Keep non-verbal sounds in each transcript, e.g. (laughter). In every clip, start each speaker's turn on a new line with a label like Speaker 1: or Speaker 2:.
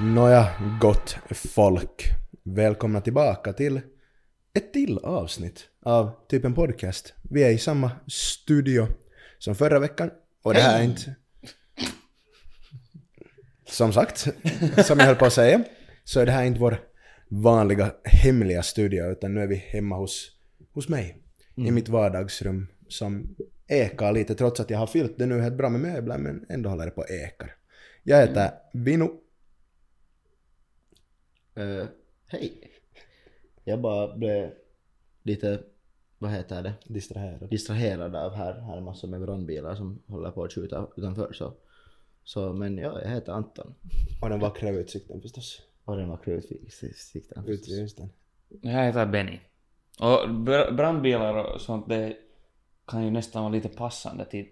Speaker 1: Nåja, gott folk. Välkomna tillbaka till ett till avsnitt av typ en podcast. Vi är i samma studio som förra veckan och det här är inte... Som sagt, som jag höll på att säga, så är det här inte vår vanliga hemliga studio utan nu är vi hemma hos, hos mig i mitt vardagsrum som ekar lite trots att jag har fyllt det nu helt bra med möbler men ändå håller det på och ekar. Jag heter Vino
Speaker 2: Eh, Hej. Jag bara blev lite, vad heter det,
Speaker 1: distraherad.
Speaker 2: distraherad av här, här är massor med brandbilar som håller på att skjuta utanför så. Så men ja, jag heter Anton.
Speaker 1: Och den vackra utsikten förstås.
Speaker 2: Och den var krutsikten.
Speaker 1: Utsikten.
Speaker 3: Jag heter Benny. Och br- brandbilar och sånt det kan ju nästan vara lite passande till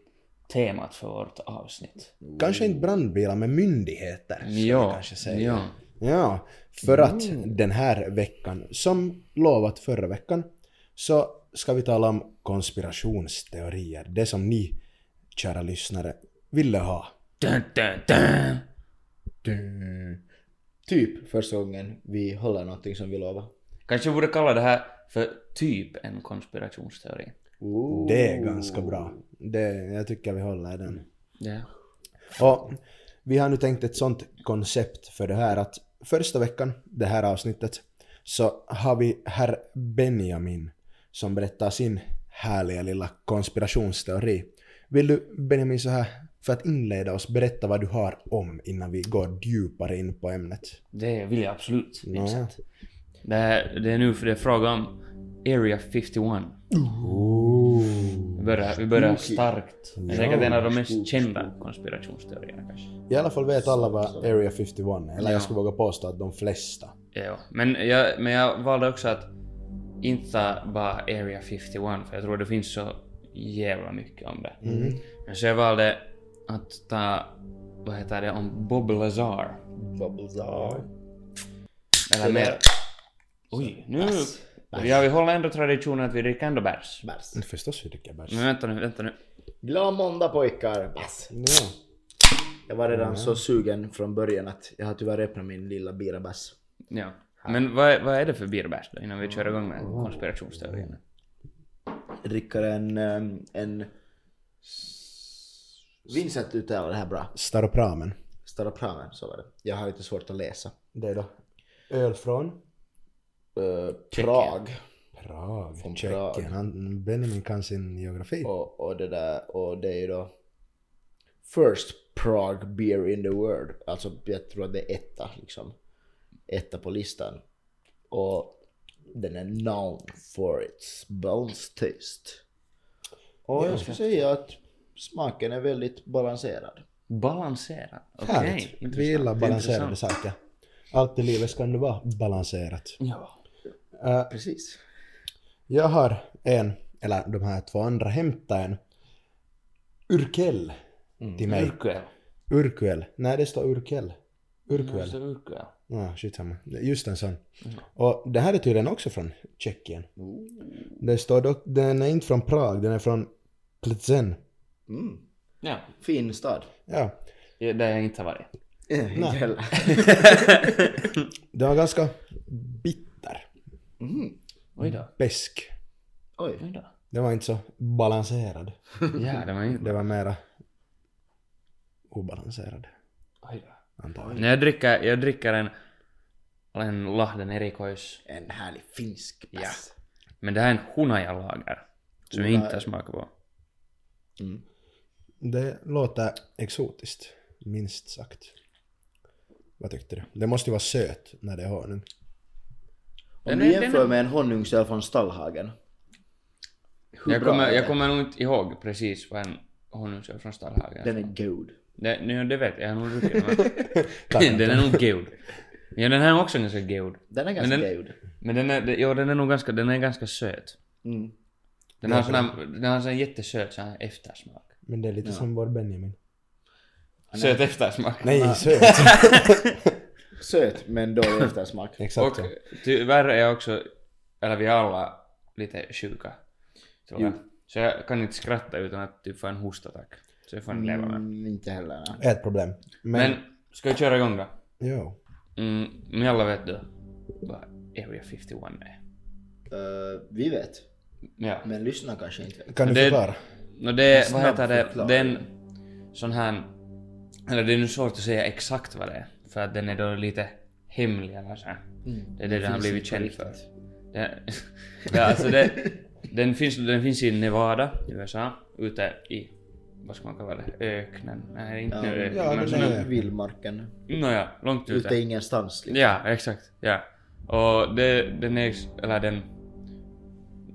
Speaker 3: temat för vårt avsnitt.
Speaker 1: Kanske inte brandbilar men myndigheter. ska vi kanske säga.
Speaker 3: ja.
Speaker 1: Ja, för att den här veckan, som lovat förra veckan, så ska vi tala om konspirationsteorier. Det som ni, kära lyssnare, ville ha.
Speaker 3: Dun, dun, dun.
Speaker 2: Typ första gången vi håller någonting som vi lovar.
Speaker 3: Kanske borde kalla det här för typ en konspirationsteori.
Speaker 2: Ooh.
Speaker 1: Det är ganska bra. Det, jag tycker vi håller den.
Speaker 3: Ja.
Speaker 1: Och vi har nu tänkt ett sånt koncept för det här att första veckan, det här avsnittet, så har vi herr Benjamin som berättar sin härliga lilla konspirationsteori. Vill du Benjamin så här för att inleda oss berätta vad du har om innan vi går djupare in på ämnet?
Speaker 3: Det vill jag absolut.
Speaker 1: Ja.
Speaker 3: Vincent. Det, här, det är nu för det är fråga om Area 51. Vi börjar, vi börjar starkt. Det är säkert en av de mest kända konspirationsteorierna kanske.
Speaker 1: I alla fall vet alla vad Area 51 är, eller jag skulle våga påstå att de flesta.
Speaker 3: Ja, men jag, men jag valde också att inte bara Area 51 för jag tror det finns så jävla mycket om det.
Speaker 1: Mm.
Speaker 3: Men så jag valde att ta, vad heter det, om Bob Lazar.
Speaker 2: Bubbles are.
Speaker 3: Eller mer... Oj, nu... Ja, vi håller ändå traditionen att vi dricker ändå bärs.
Speaker 2: Bärs.
Speaker 1: Förstås vi dricker bärs.
Speaker 3: Men vänta nu, vänta nu.
Speaker 2: Glad måndag pojkar. Bärs.
Speaker 1: Ja.
Speaker 2: Jag var redan så sugen från början att jag har tyvärr öppnat min lilla bira bärs.
Speaker 3: Ja. Men vad, är- vad är det för birbärs då, innan vi kör igång med konspirationsteorierna?
Speaker 2: dricker en... ehm, en Vincent uttalar det här bra.
Speaker 1: Staropramen.
Speaker 2: Staropramen, så var det. Jag har lite svårt att läsa.
Speaker 1: Det är då öl från?
Speaker 2: Eh, Prag
Speaker 1: Prag,
Speaker 2: Från
Speaker 1: Tjeckien.
Speaker 2: Prag.
Speaker 1: Han, Benjamin kan sin geografi.
Speaker 2: och, och det där och det är ju då First Prague beer in the world. Alltså jag tror att det är etta liksom. Etta på listan. Och den är known for its bones taste. Och jag skulle säga att smaken är väldigt balanserad.
Speaker 3: Balanserad. Okej.
Speaker 1: Härligt. Vi
Speaker 3: intressant.
Speaker 1: gillar balanserade
Speaker 3: Intressant.
Speaker 1: saker. Allt i livet ska nu vara balanserat.
Speaker 3: Ja.
Speaker 1: Eh,
Speaker 2: Precis.
Speaker 1: jag har en, eller de här två andra hämtar en Urkel till mig.
Speaker 3: Urkel.
Speaker 1: Urkel. Nej, det står Urkel. Urkel.
Speaker 3: Just det, Urkel.
Speaker 1: Ja, skitsamma. Just en sån. Och det här är tydligen också från Tjeckien. Det står dock, den är inte från Prag, den är från Plzeň.
Speaker 2: Mm.
Speaker 3: Ja.
Speaker 2: Fin stad.
Speaker 1: Ja.
Speaker 3: Ja, Där jag inte har varit.
Speaker 2: Inte heller.
Speaker 1: Den var ganska bitter.
Speaker 3: Oj då.
Speaker 1: Besk.
Speaker 2: Mm. Oj.
Speaker 3: Oj (laughs) då.
Speaker 1: Den var inte så balanserad.
Speaker 3: Ja, det var
Speaker 1: Det
Speaker 3: inte...
Speaker 1: var mera obalanserad,
Speaker 3: Oj då.
Speaker 1: antagligen.
Speaker 3: Jag dricker, jag dricker en, en Lahden erikois.
Speaker 2: En härlig finsk bärs.
Speaker 3: Men det här är en hunajalager. Som jag inte har smakat på.
Speaker 1: Det låter exotiskt, minst sagt. Vad tyckte du? Det måste ju vara söt när det är honung.
Speaker 2: Om
Speaker 3: Den
Speaker 2: du
Speaker 3: är-
Speaker 2: jämför
Speaker 3: den är-
Speaker 2: med en honungsöl från Stallhagen. Hur
Speaker 3: Jag
Speaker 2: bra
Speaker 3: kommer,
Speaker 2: är
Speaker 3: jag
Speaker 2: den?
Speaker 3: kommer nog inte ihåg precis vad en honungsöl från Stallhagen
Speaker 2: Den är god.
Speaker 3: Det, nu, det vet jag, jag har nog druckit
Speaker 1: Tack, (laughs)
Speaker 3: den. men- den är nog god. Ja, den här är också ganska god.
Speaker 2: Den är ganska
Speaker 3: den-
Speaker 2: god.
Speaker 3: Men den är, ja, den är nog ganska, den är ganska söt.
Speaker 2: Mm.
Speaker 3: Den har sån här, den har sån här jättesöt sån här eftersmak.
Speaker 1: Men det är lite som vår Benjamin.
Speaker 3: Söt eftersmak.
Speaker 1: Nej, (laughs) söt!
Speaker 2: Söt men dålig
Speaker 3: (laughs)
Speaker 2: eftersmak.
Speaker 1: Exakt
Speaker 3: Och
Speaker 1: så.
Speaker 3: tyvärr är jag också, eller vi är alla lite sjuka. Tror jag. Så jag kan inte skratta utan att typ få en hostattack. Så jag får en leva med.
Speaker 2: Mm, inte heller. Nej.
Speaker 1: Ett problem. Men,
Speaker 3: Men, ska vi köra igång då?
Speaker 1: jo.
Speaker 3: Mm, men alla vet då vad Area 51 är.
Speaker 2: Eh, vi vet,
Speaker 3: Ja.
Speaker 2: men lyssna kanske inte vet.
Speaker 1: Kan du
Speaker 3: Det-
Speaker 1: förklara?
Speaker 3: No, det är, vad
Speaker 2: Snabb
Speaker 3: heter det,
Speaker 2: förklaring.
Speaker 3: den sån här, eller det är nu svårt att säga exakt vad det är, för att den är då lite hemlig eller så här. Det är det den har
Speaker 2: finns
Speaker 3: blivit
Speaker 2: inte
Speaker 3: känd
Speaker 2: riktigt.
Speaker 3: för. Det, ja, (laughs) alltså det, den, finns, den finns i Nevada, USA, ute i, vad ska man kalla det, öknen? Nej, inte
Speaker 2: Ja,
Speaker 3: (laughs) nu öknen,
Speaker 1: ja,
Speaker 3: men
Speaker 1: den
Speaker 3: sån
Speaker 1: är-
Speaker 3: här-
Speaker 2: I Mm. vildmarken,
Speaker 3: Nåja, långt ute.
Speaker 2: ute ingenstans. Liksom.
Speaker 3: Ja, exakt. Ja. Och det, den är, eller den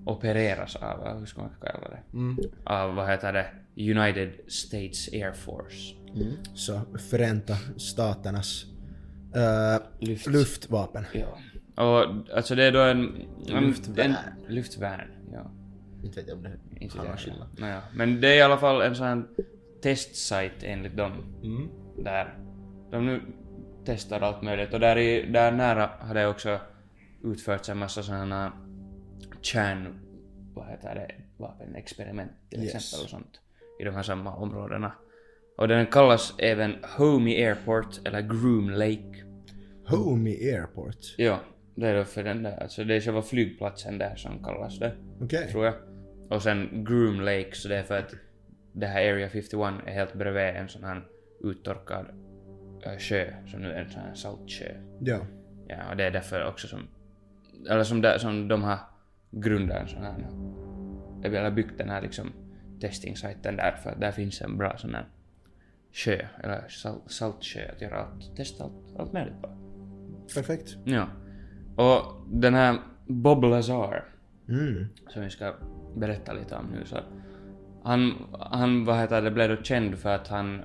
Speaker 3: opereras av, hur ska man kalla det?
Speaker 2: Mm.
Speaker 3: Av, vad heter det? United States Air Force.
Speaker 2: liksom. Mm.
Speaker 1: Så Förenta Staternas eh,
Speaker 3: Luft.
Speaker 1: luftvapen.
Speaker 3: Ja. Och alltså det är då en... en
Speaker 2: Luftvärn.
Speaker 3: En, luftvärn, ja.
Speaker 2: Inte vet jag om det
Speaker 3: Inte
Speaker 2: har någon
Speaker 3: det.
Speaker 2: skillnad.
Speaker 3: Nåja. No Men det är i alla fall en sån här testsajt enligt dem. Där de nu testar allt möjligt och där, i, där nära har det också utförts en massa sådana kärn... Vad heter det? Vapenexperiment till
Speaker 1: Yes.
Speaker 3: exempel och sånt. I de här samma områdena. Och den kallas även Homey Airport eller Groom Lake.
Speaker 1: Homey Airport.
Speaker 3: Ja, det är då för den där. Alltså det är själva flygplatsen där som kallas det,
Speaker 1: Okej.
Speaker 3: tror jag. Och sen Groom Lake, så det är för att det här Area 51 är helt bredvid en sån här uttorkad äh, sjö, som nu är en sån här saltsjö.
Speaker 1: Ja.
Speaker 3: Ja, och det är därför också som... Eller som, där, som de har grundat en sån här... Eller byggt den här liksom testing-sajten där, för att där finns en bra sån här sjö, eller sal- saltsjö att göra allt, testa allt, allt möjligt bara.
Speaker 1: Perfekt.
Speaker 3: Ja. Och den här Bob Lazar,
Speaker 1: Mm.
Speaker 3: som vi ska berätta lite om nu, så han, han vad heter det, blev då känd för att han,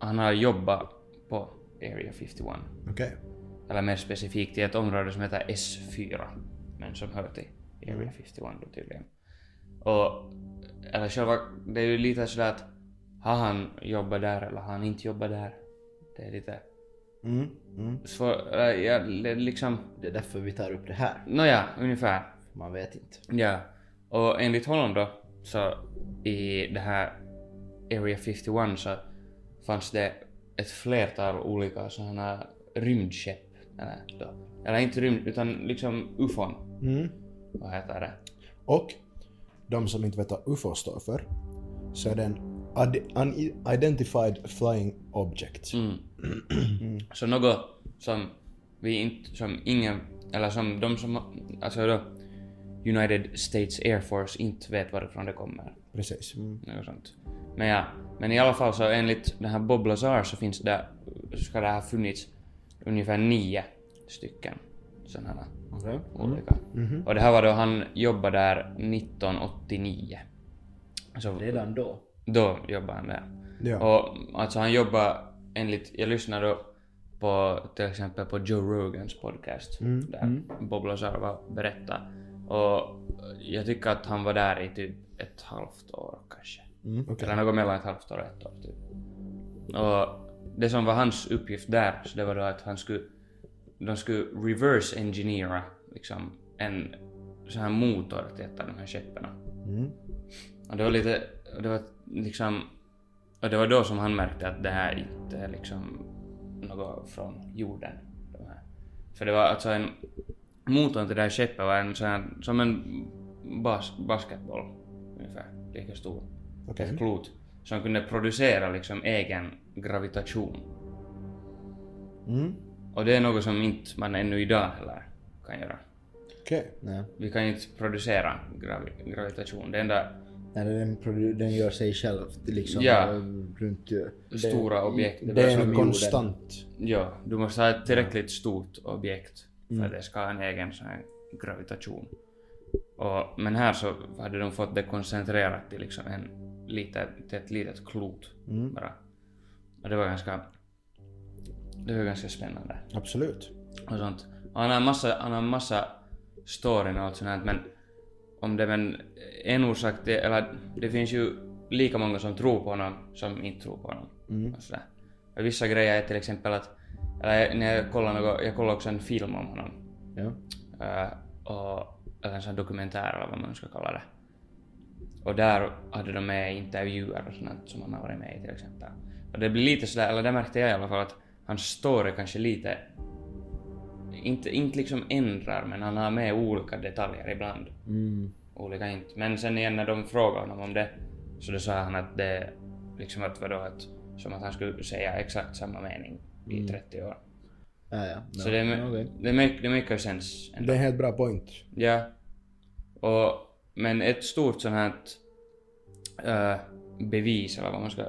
Speaker 3: han har jobbat på Area 51.
Speaker 1: Okej.
Speaker 3: Eller mer specifikt i ett område som heter S4, men som hör till Area 51 då tydligen. Och, eller själva, det är ju lite sådär att har han jobbat där eller har han inte jobbat där? Det är lite
Speaker 1: Mm. Mm.
Speaker 3: svårt, ja, det är liksom,
Speaker 2: Det är därför vi tar upp det här.
Speaker 3: nåja, ungefär.
Speaker 2: Man vet inte.
Speaker 3: Ja, och enligt honom då så i det här Area 51 så fanns det ett flertal olika sådana rymdskepp. Eller, då, eller inte rymd, utan liksom ufon.
Speaker 1: Mm.
Speaker 3: Vad heter det?
Speaker 1: Och de som inte vet vad UFO står för så är det en ad- unidentified flying object.
Speaker 3: Mm. Så något som vi inte, som ingen, eller som de som, alltså då United States Air Force inte vet varifrån det kommer.
Speaker 1: Precis.
Speaker 3: Något sånt. Men ja, men i alla fall så enligt den här Bob Lazar så finns det, ska det ha funnits ungefär nio stycken sådana
Speaker 2: Okej.
Speaker 3: olika.
Speaker 1: Mhm.
Speaker 3: Och det här var då han jobbade där 1989. Så
Speaker 2: Redan då.
Speaker 3: då jobbade han där.
Speaker 1: Ja.
Speaker 3: Och alltså han jobbade enligt, jag lyssnade då på till exempel på Joe Rogans podcast
Speaker 1: Mm.
Speaker 3: där Bob Lazar var berättade. Och jag tycker att han var där i typ ett halvt år kanske.
Speaker 1: Mm. Okej.
Speaker 3: Eller något mellan ett halvt år och ett år typ. Och det som var hans uppgift där, så det var då att han skulle, de skulle reverse engineera liksom en sån här motor till ett av de här skeppen.
Speaker 1: Mm.
Speaker 3: Och det var lite, och det var liksom, och det var då som han märkte att det här inte är liksom något från jorden. De här. För det var alltså en, motorn till det här skeppet var en sån här, som en bas, basketboll ungefär, lika stor.
Speaker 1: Okej.
Speaker 3: Ett klot. Som kunde producera liksom egen gravitation.
Speaker 1: Mm.
Speaker 3: Och det är något som inte man ännu idag heller kan göra.
Speaker 1: Okej.
Speaker 2: Nej.
Speaker 3: Vi kan inte producera gravi- gravitation. Det enda
Speaker 2: Nej, den, produ- den gör sig själv liksom
Speaker 3: Ja.
Speaker 2: eh, runt... eh,
Speaker 3: stora objekt.
Speaker 1: Det
Speaker 3: behövs
Speaker 1: är en
Speaker 3: nog-
Speaker 1: konstant.
Speaker 3: Ja, du måste ha ett tillräckligt stort objekt för att det ska ha en egen sån här gravitation. Och, men här så hade de fått det koncentrerat till, liksom en, lite, till ett litet klot
Speaker 1: Mm.
Speaker 3: bara. Och det var ganska, det var ganska spännande.
Speaker 1: Absolut.
Speaker 3: och sånt. Och han har massa, han har massa storyn och allt sånt här, men om det är en- en orsak till, eller det finns ju lika många som tror på honom som inte tror på honom.
Speaker 1: Mm.
Speaker 3: Och sådär. Och vissa grejer är till exempel att, eller när jag kollar något, jag kollar också en film om honom.
Speaker 2: Ja.
Speaker 3: Eh, och, eller en sån här dokumentär eller vad man ska kalla det. Och där hade de med intervjuer och sånt som han har varit med i till exempel. Och det blir lite sådär, eller det märkte jag i alla fall att hans story kanske lite inte, inte liksom ändrar, men han har med olika detaljer ibland.
Speaker 2: Mm.
Speaker 3: Olika inte. Men sen igen när de frågade honom om det, så då sa han att det liksom att vadå, att, som att han skulle säga exakt samma mening i 30 år.
Speaker 2: Ja, ja. No.
Speaker 3: Så det,
Speaker 2: Ja, okej.
Speaker 3: okay. det, make, det make sense. ändå.
Speaker 1: Det är en helt bra point.
Speaker 3: Ja. Och, men ett stort sånt här eh, bevis, eller vad man ska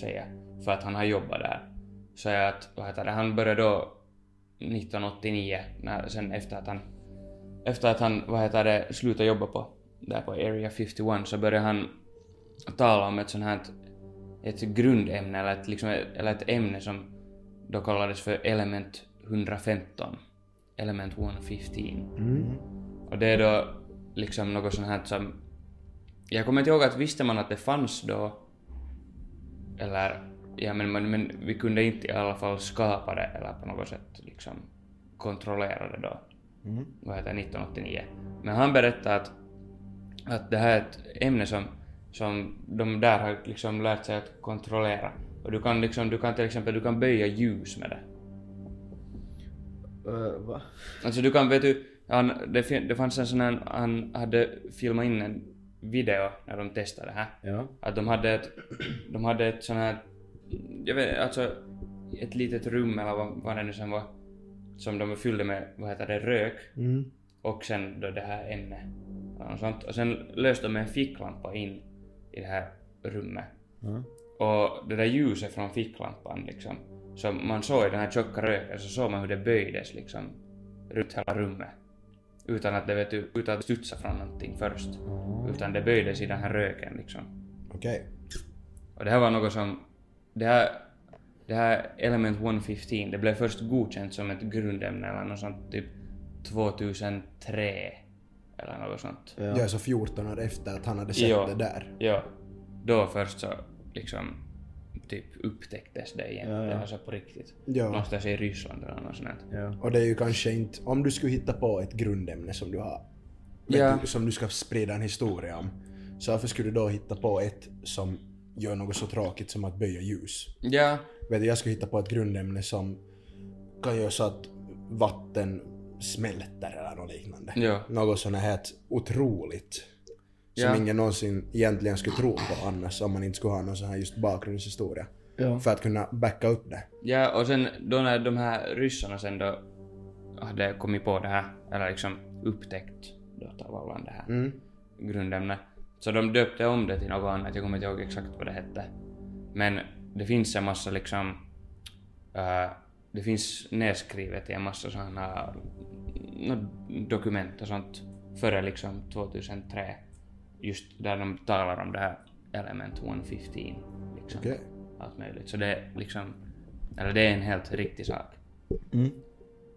Speaker 3: säga, för att han har jobbat där, så är att vad heter det, han började då 1989, när, sen efter att han, efter att han vad heter det, slutade jobba på, där på Area 51, så började han tala om ett sånt här ett grundämne, eller ett, liksom, eller ett ämne som då kallades för element 115, element 115.
Speaker 1: Mm.
Speaker 3: Och det är då liksom något sånt här som... Jag kommer inte ihåg att visste man att det fanns då, eller... Ja, men, men, men vi kunde inte i alla fall skapa det eller på något sätt liksom kontrollera det då. Vad heter det, 1989. Men han berättade att, att det här är ett ämne som, som de där har liksom lärt sig att kontrollera. Och du kan, liksom, du kan till exempel du kan böja ljus med det.
Speaker 2: Ö, Eh, va?
Speaker 3: Alltså du kan, vet du, han, det, fin- det fanns en sån här, han hade filmat in en video när de testade det här.
Speaker 2: Ja.
Speaker 3: Att de hade ett, de hade ett sån här, jag vet alltså, ett litet rum eller vad, vad det nu sen var, som de fyllde med, vad heter det, rök
Speaker 1: Mm.
Speaker 3: och sen då det här ämnet. eller något sånt. Och sen löste de en ficklampa in i det här rummet.
Speaker 2: Ja.
Speaker 3: Och det där ljuset från ficklampan liksom, som man såg i den här tjocka röken, så såg man hur det böjdes liksom runt hela rummet. Utan att det vet du, utan att studsa från någonting först. Utan det böjdes i den här röken liksom.
Speaker 1: Okej.
Speaker 3: Och det här var något som... Det här, det här Element 115, det blev först godkänt som ett grundämne eller något sånt typ 2003 eller något sånt.
Speaker 2: Ja.
Speaker 1: Jag är så 14 år efter att han hade sett
Speaker 3: Ja.
Speaker 1: det där.
Speaker 3: Ja. Då först så liksom typ upptäcktes det igen.
Speaker 2: Ja, ja.
Speaker 3: Alltså på riktigt.
Speaker 1: Ja.
Speaker 3: Någonstans i Ryssland eller något sånt. här.
Speaker 2: Ja.
Speaker 1: Och det är ju kanske inte... Om du skulle hitta på ett grundämne som du har... vet
Speaker 3: Ja.
Speaker 1: Du, som du ska sprida en historia om. Så varför skulle du då hitta på ett som gör något så tråkigt som att böja ljus?
Speaker 3: Ja.
Speaker 1: Vet du, jag skulle hitta på ett grundämne som kan göra så att vatten smälter eller något liknande.
Speaker 3: Ja.
Speaker 1: Något sånt här otroligt. Som
Speaker 3: Ja.
Speaker 1: ingen någonsin egentligen skulle tro på annars om man inte skulle ha någon sån här just bakgrundshistoria.
Speaker 2: Ja.
Speaker 1: För att kunna backa upp det.
Speaker 3: Ja, och sen då när de här ryssarna sen då hade kommit på det här, eller liksom upptäckt då tavallaan det här
Speaker 1: Mm.
Speaker 3: grundämnet. Så de döpte om det till något annat, jag kommer inte ihåg exakt vad det hette. Men det finns en massa liksom... äh, det finns nedskrivet i en massa sådana dokument och sånt före liksom 2003. Just där de talar om det här Element 115. Liksom
Speaker 1: Okej.
Speaker 3: allt möjligt. Så det är liksom, eller det är en helt riktig sak.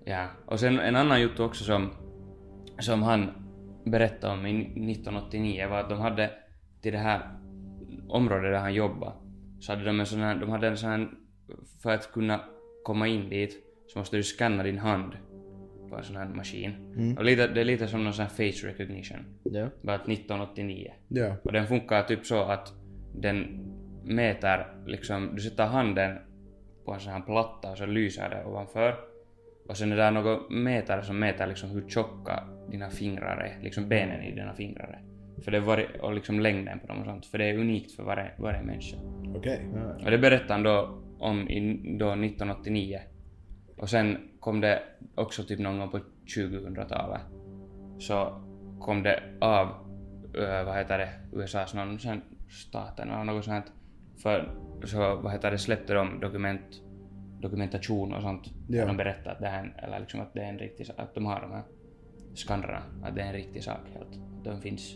Speaker 3: Ja, och sen en annan jotto också som, som han berättade om i 1989 var att de hade till det här området där han jobbade så hade de en sån här, de hade en sån här, för att kunna komma in dit så måste du scanna din hand på en sån här maskin. Och lite, det är lite som någon sån här face recognition.
Speaker 2: Ja.
Speaker 3: Bara att 1989.
Speaker 1: Ja.
Speaker 3: Och den funkar typ så att den mäter liksom, du sätter handen på en sån här platta och så lyser det ovanför. Och sen är det någon mätare som mäter liksom hur tjocka dina fingrar är, liksom benen i dina fingrar är. För det var, och liksom längden på dem och sånt, för det är unikt för varje, varje människa.
Speaker 1: Okej.
Speaker 3: Och det berättade han då om i, då 1989. Och sen kom det också typ någon gång på 2000-talet. Så kom det av, ö, vad heter det, USAs någon sen staten eller något sånt. För så, vad heter det, släppte de dokument, dokumentation och sånt.
Speaker 1: Ja.
Speaker 3: Där de berättade att det här, är en- eller liksom att det är en riktig sak, att de har de här skannrarna, att det är en riktig sak helt. De finns.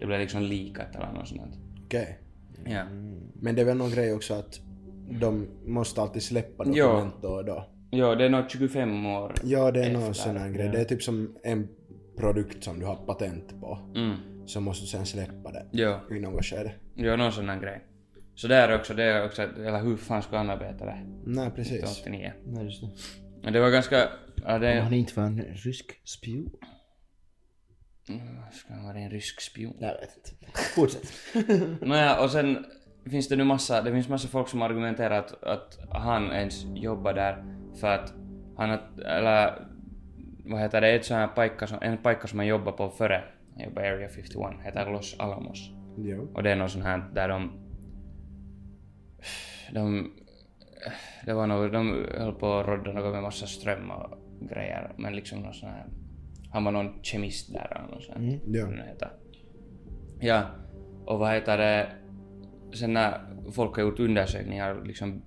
Speaker 3: Det blev liksom likat eller något sånt.
Speaker 1: Okej.
Speaker 3: Ja.
Speaker 2: Mm,
Speaker 1: Men det är väl någon grej också att de måste alltid släppa
Speaker 3: Ja.
Speaker 1: dokument då och då.
Speaker 3: Ja, det är nog 25 år.
Speaker 1: Ja, det är någon
Speaker 3: Efter,
Speaker 1: sån här grej. Det är typ som en produkt som du har patent på.
Speaker 3: Mm.
Speaker 1: Så måste du sen släppa det
Speaker 3: Ja,
Speaker 1: i något skede.
Speaker 3: ja någon sån här grej. Så där också, det är också, att- eller hur fan ska han arbeta där?
Speaker 1: Nej, precis.
Speaker 3: 89.
Speaker 2: Nej, just det.
Speaker 3: Men det var ganska, ja
Speaker 2: Om
Speaker 3: det,
Speaker 2: han Eh, inte var en rysk spion.
Speaker 3: Mm, ska han vara en rysk spion? (laughs)
Speaker 2: Jag vet inte. Fortsätt.
Speaker 3: Nåja, och sen finns det nu massa, det finns massa folk som argumenterar att, att han ens jobbar där för att han, att- eller vad heter det, ett sån här paikka som, en paikka som jag jobbade på före jag jobbade i Area 51, heter Los Alamos.
Speaker 1: Ja.
Speaker 3: Och det är någon sån här där de... De... Det var nog, de höll på och rodda något med massa ström och grejer. Men liksom någon sån här... Han var någon kemist där eller något sånt.
Speaker 1: Mm, ja.
Speaker 3: Vad det nu heter. Ja. Och vad heter det... Sen när folk har gjort undersökningar, liksom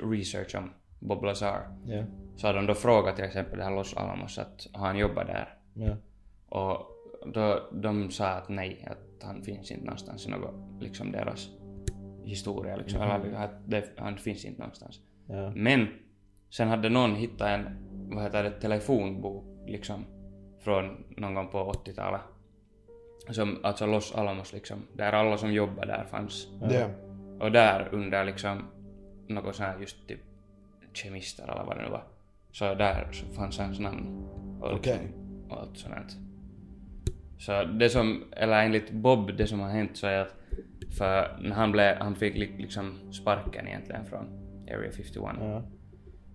Speaker 3: research om Bob Lazar.
Speaker 2: Ja.
Speaker 3: Så har de då frågat till exempel det här Los Alamos att har han jobbat där?
Speaker 2: Ja.
Speaker 3: Och då, de sa att nej, att han finns inte någonstans i något, liksom deras historia. Liksom, eller att det, han finns inte någonstans.
Speaker 2: Mhm. Ja.
Speaker 3: Men sen hade någon hittat en, vad heter det, telefonbok liksom från någon gång på 80-talet. Som, alltså Los Alamos liksom, där alla som jobbar där fanns.
Speaker 1: Ja.
Speaker 3: Och där under liksom något sån här just typ kemister eller vad det nu var. Så där så fanns hans namn. Och liksom,
Speaker 1: Okej.
Speaker 3: och allt sånt. här. Så det som, eller enligt Bob, det som har hänt så är att för när han blev, han fick li- liksom sparken egentligen från Area 51.
Speaker 2: Ja.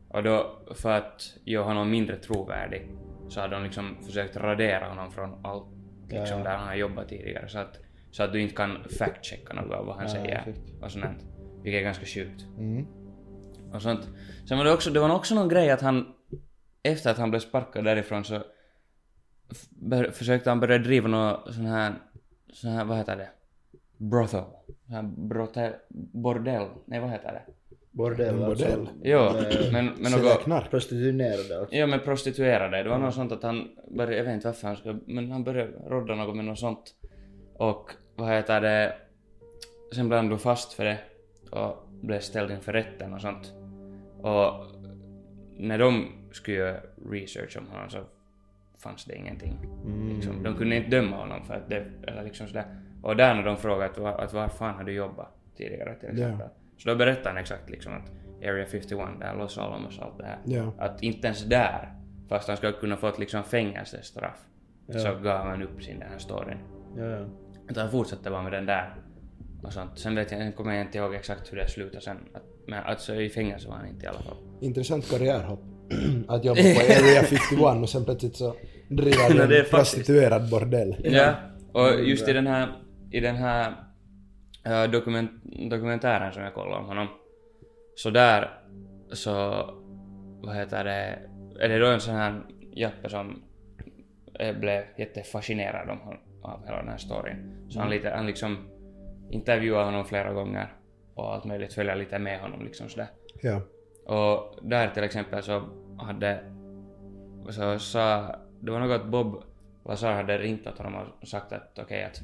Speaker 3: Och då, för att göra honom mindre trovärdig, så har de liksom försökt radera honom från allt liksom,
Speaker 2: Ja.
Speaker 3: där han har jobbat tidigare. Så att, så att du inte kan fact-checka något av vad han
Speaker 2: Nej,
Speaker 3: säger.
Speaker 2: exakt.
Speaker 3: Och sånt. här. Vilket är ganska sjukt.
Speaker 2: Mm.
Speaker 3: Och sånt. Sen var det också, det var också någon grej att han, efter att han blev sparkad därifrån så f- bör, försökte han börja driva någon sån här, sån här, vad heter det? Brothel. Sån här brote, bordell. Nej, vad heter det?
Speaker 2: Bordell.
Speaker 1: En
Speaker 2: alltså.
Speaker 1: bordell.
Speaker 3: Jo,
Speaker 2: Eh,
Speaker 3: men, men
Speaker 1: Sälja
Speaker 3: något...
Speaker 1: knark.
Speaker 2: Prostituerade alltså.
Speaker 3: Ja men prostituerade, det var något sånt att han började, jag vet inte varför han ska, men han började rodda något med något sånt. Och vad heter det, sen blev han då fast för det och blev ställd inför rätten och sånt. Och när de skulle göra research om honom så fanns det ingenting. Liksom, de kunde inte döma honom för att det, eller liksom sådär. Och där när de frågade att, var- att var fan har du jobbat tidigare till exempel. Så då berättade han exakt liksom att Area 51 där, Los Alamos och allt det här.
Speaker 1: Ja.
Speaker 3: Att inte ens där, fast han skulle kunna fått liksom fängelsestraff, så gav han upp sin den här storyn.
Speaker 2: Ja, ja.
Speaker 3: Utan han fortsatte bara med den där. Och sånt. Sen vet jag, sen kommer jag inte ihåg exakt hur det slutade sen. Att, men alltså i fängelse var han inte i alla fall.
Speaker 1: Intressant karriärhopp. (clears throat) Att jobba på
Speaker 3: (laughs)
Speaker 1: Area 51 och sen plötsligt så driver
Speaker 3: Nej,
Speaker 1: du
Speaker 3: det är
Speaker 1: en
Speaker 3: faktiskt-
Speaker 1: prostituerad bordell.
Speaker 3: Ja, och just i den här, i den här eh, dokument, dokumentären som jag kollade om honom. Så där så, vad heter det, är det då en sån här jappe som eh, blev jättefascinerad om, hon- av hela den här storyn. Så han, lite, han liksom intervjuade honom flera gånger och allt möjligt, följa lite med honom liksom sådär.
Speaker 1: Ja.
Speaker 3: Och där till exempel så hade... Så sa... Det var något att Bob Lazar hade ringt åt honom och sagt att okej att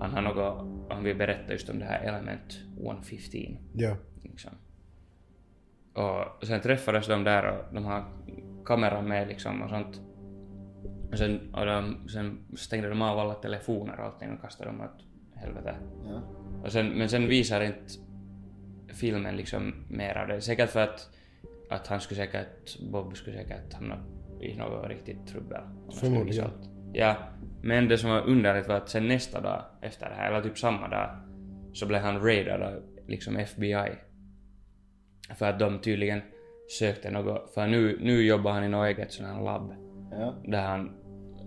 Speaker 3: han har något... Han vill berätta just om det här Element 115.
Speaker 1: Ja.
Speaker 3: Liksom. Och sen träffades de där och de har kameran med liksom och sånt. Och sen, och de, sen stängde de av alla telefoner och allting och kastade dem åt helvete.
Speaker 2: Ja.
Speaker 3: Och sen, men sen visar inte filmen liksom mer av det. Säkert för att, att han skulle säkert, Bob skulle säkert hamna i något riktigt trubbel. om han skulle
Speaker 1: Förmodligen.
Speaker 3: visa allt. Ja. Men det som var underligt var att sen nästa dag efter det här, eller typ samma dag, så blev han raidad av liksom FBI. För att de tydligen sökte något, för nu, nu jobbar han i något eget sån här labb
Speaker 2: Ja.
Speaker 3: där han,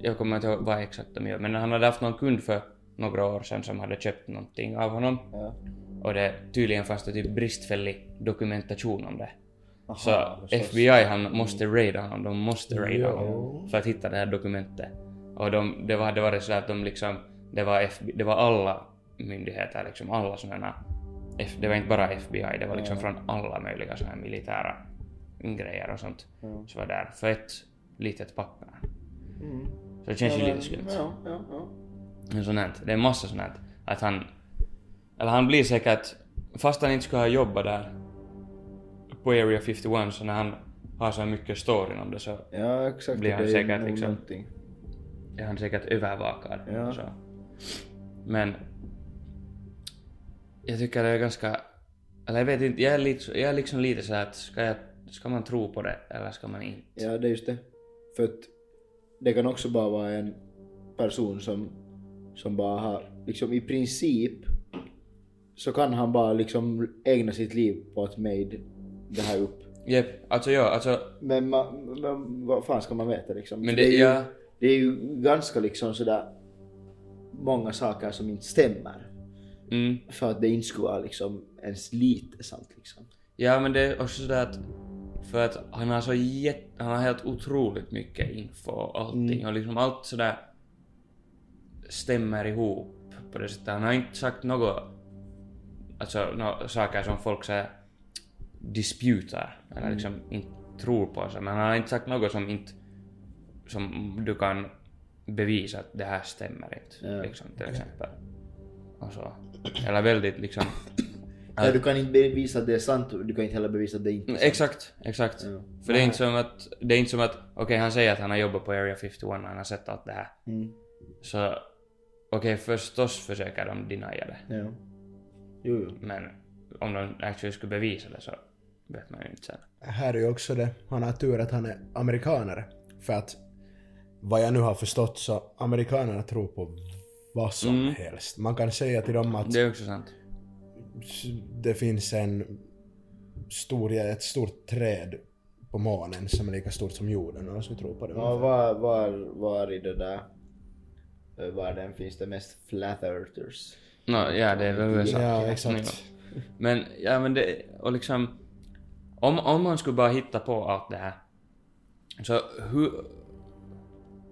Speaker 3: jag kommer inte ihåg vad exakt de gör, men han hade haft någon kund för några år sedan som hade köpt någonting av honom
Speaker 2: Ja.
Speaker 3: och det tydligen fanns det typ bristfällig dokumentation om det.
Speaker 2: Aha,
Speaker 3: så
Speaker 2: förstås.
Speaker 3: FBI han måste raida honom, de måste raida
Speaker 1: Jo.
Speaker 3: honom för att hitta det här dokumentet. Och de, det var- hade varit så att de liksom, det var, FBI, det var alla myndigheter, liksom alla sådana, F- det var inte bara FBI, det var liksom från alla möjliga sådana militära grejer och sånt.
Speaker 2: Ja.
Speaker 3: Så var där för ett litet papper.
Speaker 2: Mm.
Speaker 3: Så det alltså. känns ju
Speaker 2: Ja,
Speaker 3: lite skumt.
Speaker 2: Ja, ja, ja.
Speaker 3: Men sånt här, det är massa sånt här. Att han... Eller han blir säkert... Fast han inte skulle ha jobbat där på Area 51 så när han har så här mycket storyn om det så
Speaker 2: Ja, exakt.
Speaker 3: Blir
Speaker 2: det
Speaker 3: han
Speaker 2: är
Speaker 3: säkert
Speaker 2: nog
Speaker 3: liksom-
Speaker 2: någonting.
Speaker 3: är han säkert övervakad.
Speaker 2: Ja.
Speaker 3: Så. Men... Jag tycker det är ganska... Eller jag vet inte, jag är, lite, jag är liksom lite så här att ska, jag, ska man tro på det eller ska man inte?
Speaker 2: Ja, det är just det. För att det kan också bara vara en person som, som bara har, liksom i princip så kan han bara liksom ägna sitt liv på att made det här upp.
Speaker 3: Jep, alltså ja, alltså
Speaker 2: Men, man, men vad fan ska man veta liksom?
Speaker 3: Men
Speaker 2: Så
Speaker 3: det-
Speaker 2: är ju,
Speaker 3: ja.
Speaker 2: det är ju ganska liksom sådär många saker som inte stämmer.
Speaker 3: mm.
Speaker 2: För att det inte skulle vara liksom ens lite sant liksom.
Speaker 3: Ja, men det är också sådär att för att han har så jätt, han har helt otroligt mycket info och allting
Speaker 2: Mm.
Speaker 3: och liksom allt sådär stämmer ihop på det sättet. Han har inte sagt något, alltså nå saker som folk såhär disputar eller
Speaker 2: Mm.
Speaker 3: liksom inte tror på sig, men han har inte sagt något som inte som du kan bevisa att det här stämmer inte,
Speaker 2: Ja.
Speaker 3: liksom till exempel. Och så. Eller väldigt liksom...
Speaker 2: Ja. Du kan inte bevisa att det är sant och du kan inte heller bevisa att det inte är
Speaker 3: Mm,
Speaker 2: sant.
Speaker 3: Exakt, exakt.
Speaker 2: Ja.
Speaker 3: För det är inte som att, det är inte som att, okej han säger att han har jobbat på Area 51 och han har sett allt det här.
Speaker 2: Mm.
Speaker 3: Så okej förstås försöker de denia det.
Speaker 2: Ja. Jo, jo.
Speaker 3: Men om de actually skulle bevisa det så vet man ju inte sen.
Speaker 1: Här är ju också det, han har tur att han är amerikanare. För att vad jag nu har förstått så amerikanerna tror på vad som
Speaker 3: Mm.
Speaker 1: helst. Man kan säga till dem att
Speaker 3: Det är också sant.
Speaker 1: det finns en stor, ett stort träd på månen som är lika stort som jorden och de skulle tro på det.
Speaker 2: Ja, var, var, var i det där eh, världen finns det mest flat earthers?
Speaker 3: Nå, ja det är väl
Speaker 2: Ja,
Speaker 3: USA.
Speaker 1: ja, exakt.
Speaker 3: Men, ja men det, och liksom... Om, om man skulle bara hitta på allt det här. Så hur...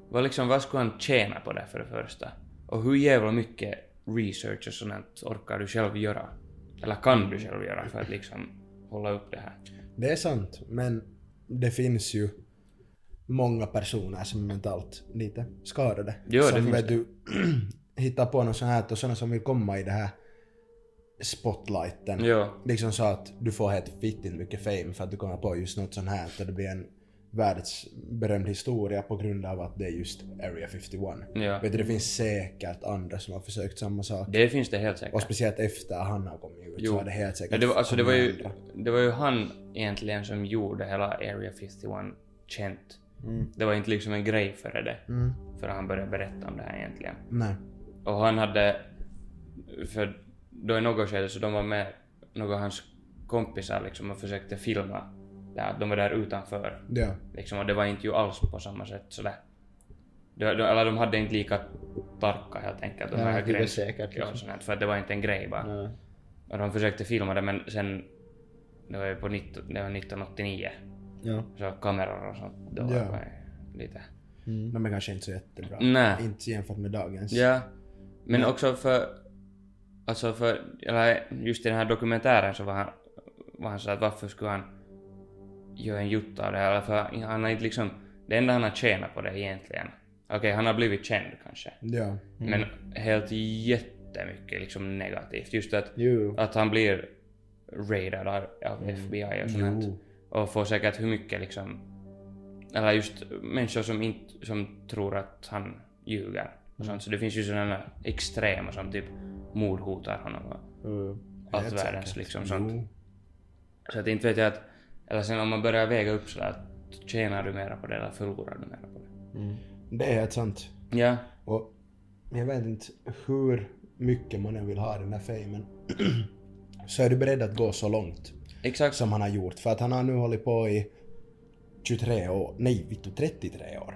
Speaker 3: Vad liksom, vad skulle han tjäna på det för det första? Och hur jävla mycket research och sånt orkar du själv göra? Eller kan du själv göra för att liksom hålla upp det här?
Speaker 1: Det är sant, men det finns ju många personer som är mentalt lite skadade.
Speaker 3: Jo, det
Speaker 1: som
Speaker 3: finns
Speaker 1: vet du (clears throat) hittar på något sånt här och sådana som vill komma i det här spotlighten.
Speaker 3: Jo.
Speaker 1: Liksom så att du får helt fittigt mycket fame för att du kommer på just något sånt här och det blir en världsberömd historia på grund av att det är just Area 51.
Speaker 3: Ja.
Speaker 1: Vet du, det finns säkert andra som har försökt samma sak.
Speaker 3: Det finns det helt
Speaker 1: Och
Speaker 3: säkert.
Speaker 1: speciellt efter han har kommit ut så
Speaker 3: Jo.
Speaker 1: har det helt säkert
Speaker 3: Ja, det, var, alltså, det, var
Speaker 1: kommit
Speaker 3: ju,
Speaker 1: andra.
Speaker 3: det var ju han egentligen som gjorde hela Area 51 känt. Det var inte liksom en grej före det.
Speaker 1: Mm.
Speaker 3: Förrän han började berätta om det här egentligen.
Speaker 1: Nej.
Speaker 3: Och han hade... För då i något skede så de var med några av hans kompisar liksom och försökte filma. Ja, de var där utanför.
Speaker 1: Ja.
Speaker 3: Liksom, och det var inte ju alls på samma sätt sådär. De, de, eller de hade inte lika tarka helt enkelt. De
Speaker 2: Ja,
Speaker 3: här
Speaker 2: det är väl
Speaker 3: gräns-
Speaker 2: säkert,
Speaker 3: ja,
Speaker 2: liksom.
Speaker 3: sånt, för att det var inte en grej bara.
Speaker 2: Ja.
Speaker 3: Och de försökte filma det men sen... Det var ju på 19, det var 1989.
Speaker 2: Ja.
Speaker 3: Så kameror och sånt. Då
Speaker 1: Ja.
Speaker 3: var det lite...
Speaker 1: Mm. Men kanske inte så jättebra.
Speaker 3: Nej.
Speaker 1: Inte jämfört med dagens.
Speaker 3: Mm. Ja, men också för... Alltså för... Eller just i den här dokumentären så var han, var han så att varför skulle han göra en jutta av det här? Eller För han har inte liksom... Det enda han har tjänat på det egentligen. Okej, han har blivit känd kanske.
Speaker 1: Ja.
Speaker 2: Mm.
Speaker 3: Men helt jättemycket liksom negativt. Just att,
Speaker 2: Jo.
Speaker 3: att han blir raidad av, av FBI och sånt.
Speaker 1: Jo.
Speaker 3: Och får säkert hur mycket liksom... Eller just människor som, inte, som tror att han ljuger. Och sånt. Så det finns ju sådana extrema som typ mordhotar honom och
Speaker 2: Jo.
Speaker 3: allt
Speaker 1: Helt
Speaker 3: världens
Speaker 1: säkert.
Speaker 3: liksom sånt.
Speaker 1: Jo.
Speaker 3: Så att inte vet jag att... Eller sen om man börjar väga upp sådär att tjänar du mera på det eller förlorar du mera på det?
Speaker 2: Mm.
Speaker 1: Det är helt sant.
Speaker 3: Ja.
Speaker 1: Och jag vet inte hur mycket man än vill ha den här famen. (clears throat) så är du beredd att gå så långt
Speaker 3: Exakt.
Speaker 1: som han har gjort. För att han har nu hållit på i 23 år. Nej, vittu 33 år. Med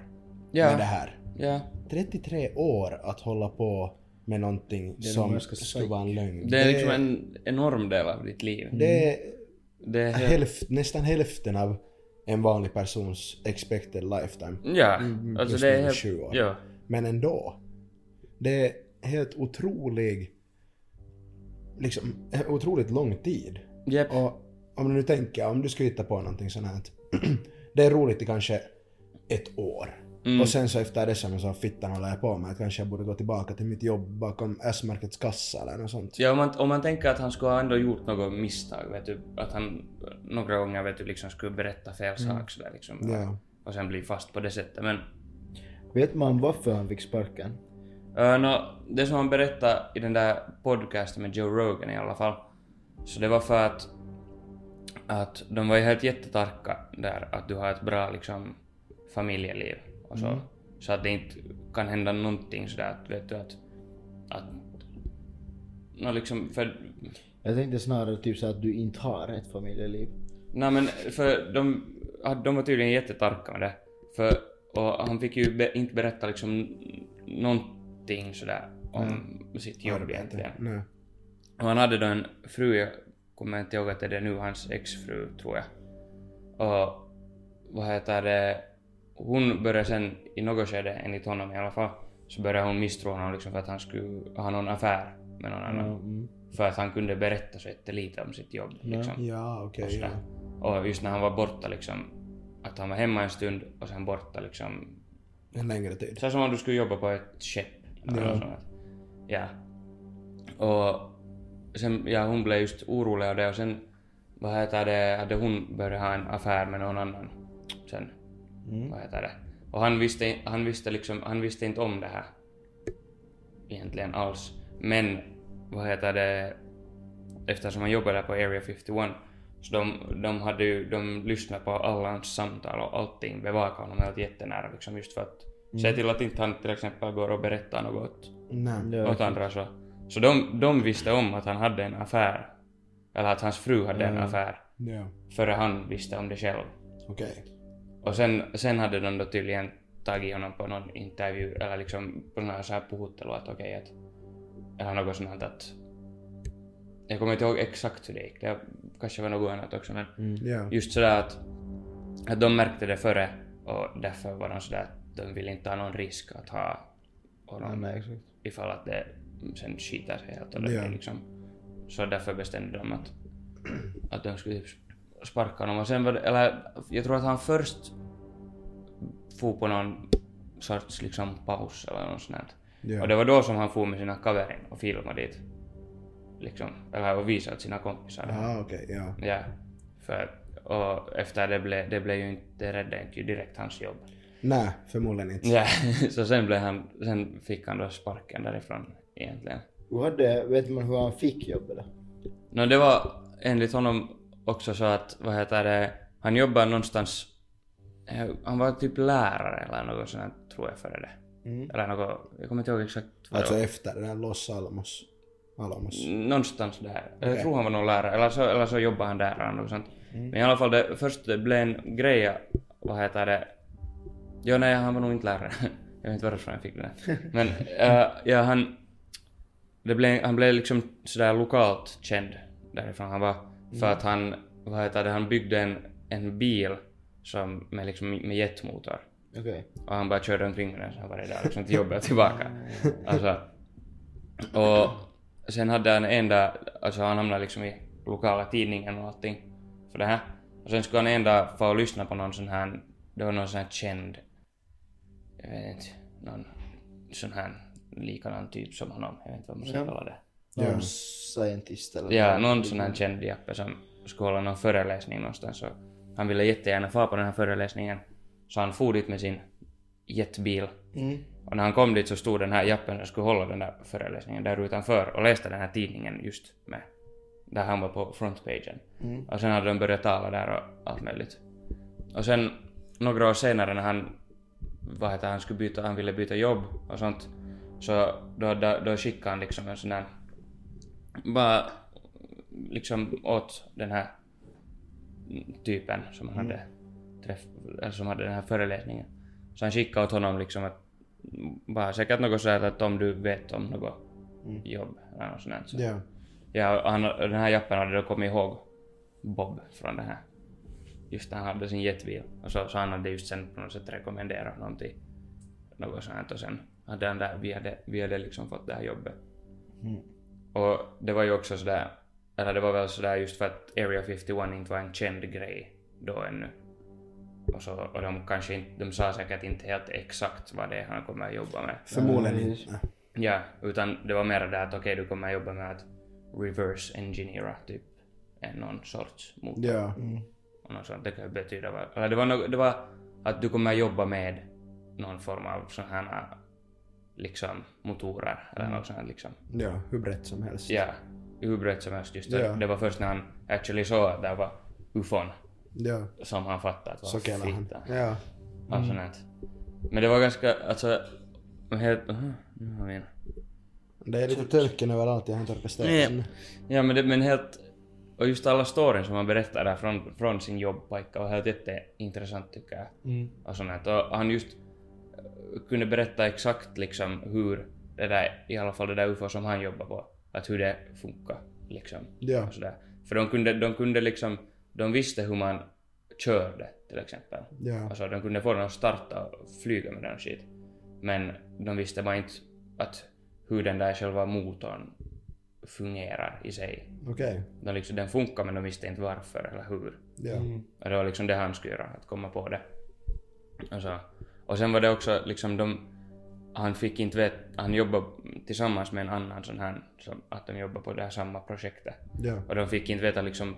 Speaker 1: det
Speaker 3: Ja.
Speaker 1: här.
Speaker 3: Ja.
Speaker 1: 33 år att hålla på med någonting
Speaker 2: är nog
Speaker 1: som
Speaker 2: ganska
Speaker 1: skulle vara en lögn.
Speaker 3: Det är liksom en Mm. enorm del av ditt liv.
Speaker 1: det är
Speaker 3: Det är helt...
Speaker 1: hälft, nästan hälften av en vanlig persons expected lifetime.
Speaker 3: Ja.
Speaker 1: Mm,
Speaker 3: Alltså
Speaker 1: plus
Speaker 3: det är
Speaker 1: minus
Speaker 3: helt...
Speaker 1: 20 år.
Speaker 3: Ja.
Speaker 1: Men ändå. Det är helt otrolig, liksom, en otroligt lång tid.
Speaker 3: Japp.
Speaker 1: Och om du nu tänker, om du skulle hitta på någonting sånt här. att (clears throat) det är roligt i kanske ett år.
Speaker 3: Mm.
Speaker 1: Och sen så efter det som så fittan håller jag på med att kanske jag borde gå tillbaka till mitt jobb bakom S-märkets kassa eller något sånt.
Speaker 3: Ja, om man, om man tänker att han skulle ha ändå gjort något misstag, vet du, att han några gånger vet du, liksom skulle berätta fel sak sådär liksom.
Speaker 1: Ja.
Speaker 3: Och sen bli fast på det sättet. Men
Speaker 2: Vet man varför han fick sparken?
Speaker 3: uh, det som han berättade i den där podcasten med Joe Rogan i alla fall, så det var för att, att de var ju helt jättetarka där, att du har ett bra liksom, familjeliv och så. Så att det inte kan hända någonting sådär att, vet du, att, att nå liksom, för
Speaker 2: Jag tänkte snarare typ så att du inte har ett familjeliv.
Speaker 3: Nej men för de, hade- de var tydligen jättetarka med det. För, och han fick ju be, inte berätta liksom någonting sådär om sitt jobb egentligen.
Speaker 1: Nej.
Speaker 3: Och han hade då en fru, jag kommer inte ihåg att det är nu, hans exfru tror jag. Och vad heter det, hon började sen i något skede, enligt honom i alla fall, så började hon misstro honom liksom för att han skulle ha någon affär med någon annan.
Speaker 1: Mm.
Speaker 3: För att han kunde berätta så jättelite om sitt jobb. Liksom.
Speaker 1: Ja, okej.
Speaker 3: Och, sådär.
Speaker 1: ja.
Speaker 3: och just när han var borta liksom, att han var hemma en stund och sen borta liksom.
Speaker 1: En längre tid.
Speaker 3: Så här som om du skulle jobba på ett skepp. eller
Speaker 1: Ja.
Speaker 3: något sånt. Ja. Och sen, ja hon blev just orolig av det och sen, vad heter det, hade hon börjat ha en affär med någon annan sen.
Speaker 2: mm,
Speaker 3: Vad heter det? Och han visste, han visste liksom, han visste inte om det här. Egentligen alls. Men, vad heter det, eftersom han jobbade där på Area 51 så de, de hade ju, de lyssnade på alla hans samtal och allting bevakade honom helt jättenära liksom just för att
Speaker 2: mm.
Speaker 3: se till att inte han till exempel går och berättar något
Speaker 2: Mm.
Speaker 1: Nej.
Speaker 3: åt andra så. Så de, de visste om att han hade en affär. Eller att hans fru hade en affär.
Speaker 1: Ja.
Speaker 3: Före han visste om det själv.
Speaker 1: Okej.
Speaker 3: Och sen, sen hade de då tydligen tagit honom på någon intervju eller liksom på någon sån här puhuttelu att okej att... Eller något sånt här att... Jag kommer inte ihåg exakt hur det gick. Det kanske var något annat också men
Speaker 2: Mm.
Speaker 1: Ja.
Speaker 3: just sådär att, att de märkte det före och därför var de sådär att de ville inte ha någon risk att ha honom
Speaker 2: Nej, exakt.
Speaker 3: ifall att det sen skiter sig helt och det
Speaker 1: Ja.
Speaker 3: liksom. Så därför bestämde de att, att de skulle typ sparka honom. Och sen var det, eller jag tror att han först for på någon sorts liksom paus eller något sånt. här.
Speaker 1: Ja.
Speaker 3: Och det var då som han for med sina kaverin och filmade dit. Liksom, eller och visade åt sina kompisar.
Speaker 1: Ah, okej. Ja.
Speaker 3: Ja. För, och efter det blev, det blev ju inte, det räddade inte ju direkt hans jobb.
Speaker 1: Nej, förmodligen inte.
Speaker 3: Ja, (laughs) så sen blev han, sen fick han då sparken därifrån egentligen.
Speaker 2: Hur hade, vet man hur han fick jobb eller?
Speaker 3: Nå det var enligt honom också så att, vad heter det, han jobbar någonstans, eh, han var typ lärare eller något sånt här, tror jag före det. Eller något, jag kommer inte ihåg exakt vad det
Speaker 1: Alltså
Speaker 3: var.
Speaker 1: efter den här Los Alamos. Alamos.
Speaker 3: Mm. Någonstans där. Jag tror han var någon lärare, eller så, eller så jobbade han där eller något sånt. Men i alla fall, det, först det blev en grej, ja, vad heter det? Jo, nej, han var nog inte lärare. (laughs) Jag vet inte varför jag fick det där. Men eh, ja, han, det blev, han blev liksom sådär lokalt känd därifrån han var. För att han, vad heter det, han byggde en, en bil som, med, liksom, med jetmotor.
Speaker 2: Okej.
Speaker 3: Och han bara körde omkring med den så han varje dag liksom till jobbet och tillbaka. Alltså. Och sen hade han en dag, alltså han hamnade liksom i lokala tidningen och allting för det här. Och sen skulle han en dag få och lyssna på någon sån här, det var någon sån här känd, jag vet inte, någon sån här likadan typ som honom, jag vet inte vad man ska kalla det.
Speaker 2: Någon scientist eller?
Speaker 3: Ja, någon sån här känd jappe som skulle hålla någon föreläsning någonstans och han ville jättegärna fara på den här föreläsningen. Så han for dit med sin jetbil.
Speaker 2: Mm.
Speaker 3: Och när han kom dit så stod den här jappen som skulle hålla den där föreläsningen där utanför och läste den här tidningen just med. Där han var på frontpagen.
Speaker 2: mm,
Speaker 3: Och sen hade de börjat tala där och allt möjligt. Och sen några år senare när han, vad heter han, skulle byta, han ville byta jobb och sånt. Så då, då, då skickade han liksom en sån där, bara liksom åt den här typen som han hade träff, eller som hade den här föreläsningen. Så han skickade åt honom liksom att bara säkert något sådär att om du vet om något jobb eller något sånt. där. Så.
Speaker 1: Ja.
Speaker 3: Ja, och han, och den här jappen hade då kommit ihåg Bob från det här. Just när han hade sin jetbil. Och så, så han hade just sen på något sätt rekommenderat honom till något sånt här. och sen hade han där, vi hade, vi hade liksom fått det här jobbet. Och det var ju också sådär, eller det var väl sådär just för att Area 51 inte var en känd grej då ännu. Och, så, och de kanske inte, de sa säkert inte helt exakt vad det är han kommer att jobba med.
Speaker 1: Förmodligen
Speaker 2: Mm.
Speaker 1: inte.
Speaker 3: Ja, utan det var mer det att okej, du kommer jobba med att reverse engineera typ en någon sorts motor.
Speaker 1: Ja.
Speaker 2: mm.
Speaker 3: Och något sånt. Det kan ju betyda vad... Eller det var, nog, det var att du kommer jobba med någon form av sådana här liksom motorer eller
Speaker 1: Mm.
Speaker 3: något sånt här, liksom.
Speaker 1: Ja, hur brett som helst.
Speaker 3: Ja, hur brett som helst just det.
Speaker 1: Ja.
Speaker 3: Det var först när han actually såg att det var ufon
Speaker 1: Ja.
Speaker 3: som han fattade att vad
Speaker 1: Så kallar han.
Speaker 3: fitta.
Speaker 1: Ja.
Speaker 3: Mm. Alltså, nej. Men det var ganska, alltså... Helt... Aha, nu har vi en. Typ.
Speaker 1: Det är lite törken överallt, jag har inte orkat städa än.
Speaker 3: Ja men, det, men helt Och just alla storyn som han berättar där från, från sin jobbpajkka var helt jätteintressant tycker jag. Och sånt här. Och han just eh, kunde berätta exakt liksom hur det där, i alla fall det där UFO som han jobbar på, att hur det funkar liksom.
Speaker 1: Ja.
Speaker 3: Och sådär. För de kunde, de kunde liksom, de visste hur man körde till exempel.
Speaker 1: Ja.
Speaker 3: Alltså de kunde få den att starta och flyga med den skit. Men de visste bara inte att hur den där själva motorn fungerar i sig.
Speaker 1: Okej.
Speaker 3: De liksom, den funkar men de visste inte varför eller hur.
Speaker 1: Ja.
Speaker 2: Mm.
Speaker 3: Och det var liksom det han skulle göra, att komma på det. Och, så. och sen var det också liksom de... Han fick inte veta... Han jobbade tillsammans med en annan sån här, som, att de jobbade på det här samma projektet.
Speaker 1: Ja.
Speaker 3: Och de fick inte veta liksom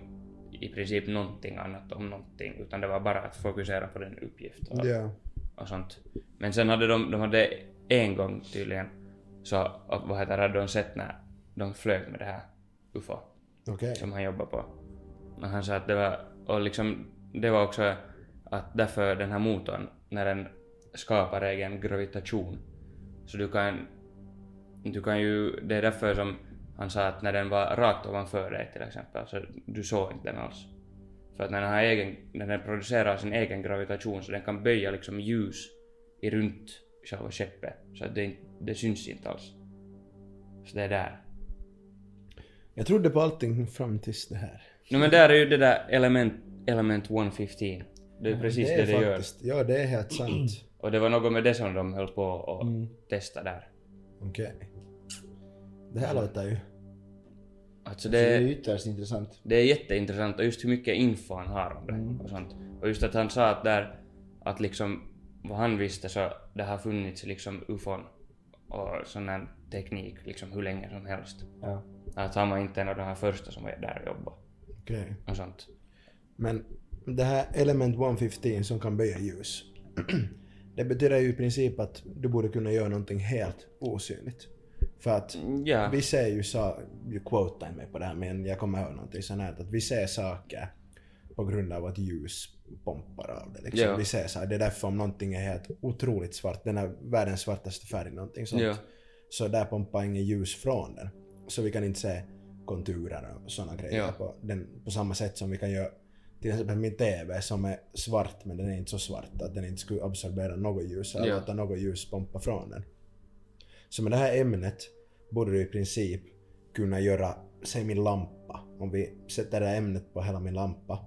Speaker 3: i princip någonting annat om någonting, utan det var bara att fokusera på den uppgift och,
Speaker 1: Ja.
Speaker 3: och sånt. Men sen hade de, de hade en gång tydligen, så och vad heter det, hade de sett när de flög med det här UFO
Speaker 1: Okej.
Speaker 3: som han jobbar på. Och han sa att det var, och liksom, det var också att därför den här motorn, när den skapar egen gravitation, så du kan, du kan ju, det är därför som han sa att när den var rakt ovanför dig till exempel, så du såg inte den alls. För att när den, har egen, när den producerar sin egen gravitation så den kan böja liksom ljus i runt själva skeppet, så att det, inte- det syns inte alls. Så det är där.
Speaker 1: Jag trodde på allting fram tills det här.
Speaker 3: No, men där är ju det där element, element 115. Det är precis det det, gör.
Speaker 1: faktiskt, Ja, det är helt
Speaker 3: (clears throat)
Speaker 1: sant.
Speaker 3: Och det var något med det som de höll på att testa där.
Speaker 1: Okej. Det här låter ju...
Speaker 3: Alltså
Speaker 2: Det är
Speaker 3: det,
Speaker 2: ytterst intressant.
Speaker 3: det är jätteintressant och just hur mycket info han har om det och sånt. Och just att han sa att där, att liksom vad han visste så det har funnits liksom ufon och sån här teknik liksom hur länge som helst.
Speaker 2: Ja.
Speaker 3: Att han var inte en av de här första som var där och jobbade
Speaker 1: Okej.
Speaker 3: och sånt.
Speaker 1: Men det här element 115 som kan böja ljus. (clears throat) det betyder ju i princip att du borde kunna göra någonting helt osynligt. För att
Speaker 3: Ja,
Speaker 1: vi ser ju saker, du quotar mig på det här men jag kommer ihåg någonting sånt här att vi ser saker på grund av att ljus pumpar av det. Liksom.
Speaker 3: Ja.
Speaker 1: Vi ser så här, det är därför om någonting är helt otroligt svart, den är världens svartaste färg, någonting sånt.
Speaker 3: Ja.
Speaker 1: Så där pumpar inget ljus från den. Så vi kan inte se konturer och såna grejer
Speaker 3: Ja.
Speaker 1: på, den, på samma sätt som vi kan göra till exempel min TV som är svart men den är inte så svart att den inte skulle absorbera något ljus eller
Speaker 3: Ja.
Speaker 1: låta något ljus pumpa från den. Så med det här ämnet borde du i princip kunna göra, säg min lampa, om vi sätter det här ämnet på hela min lampa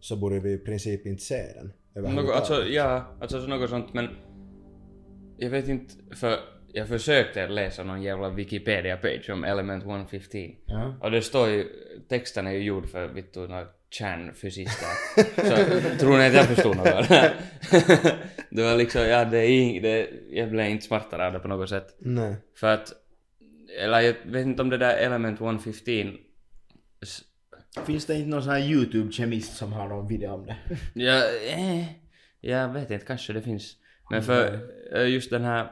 Speaker 1: så borde vi i princip inte se den
Speaker 3: Något, alltså, ja, alltså så något sånt men... Jag vet inte, för jag försökte läsa någon jävla Wikipedia-page om Element 115.
Speaker 2: Ja.
Speaker 3: Och det står ju, texten är ju gjord för vittu några kärnfysister. så tror ni att jag förstod något? (laughs) det var liksom, ja det är ing, det, jag blev inte smartare av det på något sätt.
Speaker 1: Nej.
Speaker 3: För att, eller jag vet inte om det där Element 115 s-
Speaker 2: Finns det inte någon sån här YouTube-kemist som har någon video om det?
Speaker 3: Ja, eh, jag vet inte, kanske det finns. Men för
Speaker 2: Mm.
Speaker 3: eh, just den här...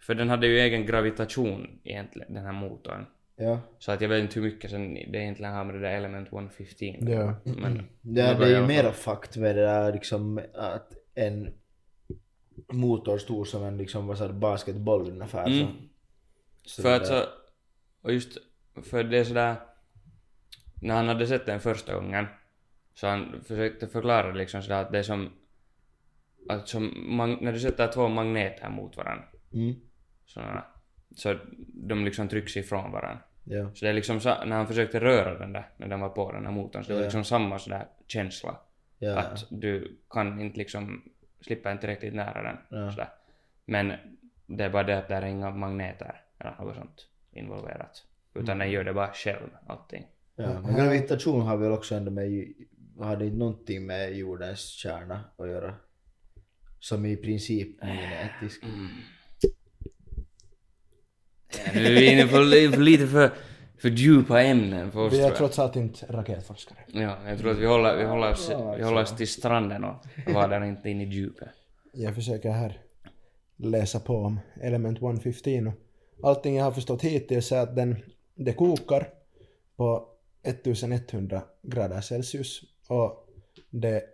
Speaker 3: För den hade ju egen gravitation egentligen, den här motorn.
Speaker 2: Ja.
Speaker 3: Så att jag vet inte hur mycket sen det egentligen har med det där element 115
Speaker 1: Ja.
Speaker 3: Men
Speaker 2: Det,
Speaker 3: Något
Speaker 2: det
Speaker 3: i
Speaker 2: är ju
Speaker 3: alla
Speaker 2: mera fakt med det där liksom att en motor stor som en liksom, vad sa du, basketboll ungefär.
Speaker 3: Mm.
Speaker 2: Så. alltså, Så
Speaker 3: för
Speaker 2: det
Speaker 3: att
Speaker 2: där-
Speaker 3: så... Och just för det är sådär... När han hade sett den första gången så han försökte förklara liksom sådär att det är som... Att som mag- när du sätter två magneter mot varandra,
Speaker 2: Mm.
Speaker 3: sådana, så de liksom trycks ifrån varandra.
Speaker 2: Ja.
Speaker 3: Så det är liksom sa- när han försökte röra den där, när den var på den här motorn, så det var
Speaker 2: Ja.
Speaker 3: liksom samma sådär känsla.
Speaker 2: Ja.
Speaker 3: Att du kan inte liksom, slippa inte riktigt nära den.
Speaker 2: Ja.
Speaker 3: Sådär. Men det är bara det att där är inga magneter eller något sånt involverat. Utan
Speaker 2: Mm.
Speaker 3: den gör det bara själv, allting.
Speaker 2: ja. Men gravitation har väl också ändå med, ju- har det inte någonting med jordens kärna att göra? Som i princip är
Speaker 3: Äh.
Speaker 2: genetisk.
Speaker 3: Nu är vi inne på li- för lite för, för djupa ämnen för oss
Speaker 1: Vi
Speaker 3: tror
Speaker 1: är
Speaker 3: jag.
Speaker 1: trots allt inte raketforskare.
Speaker 3: Ja, jag tror att vi håller, vi håller, oss,
Speaker 2: Ja,
Speaker 3: vi håller oss till stranden och vadar inte in i djupet.
Speaker 1: Jag försöker här läsa på om element 115 och allting jag har förstått hittills är att den, det kokar på 1100 grader Celsius och det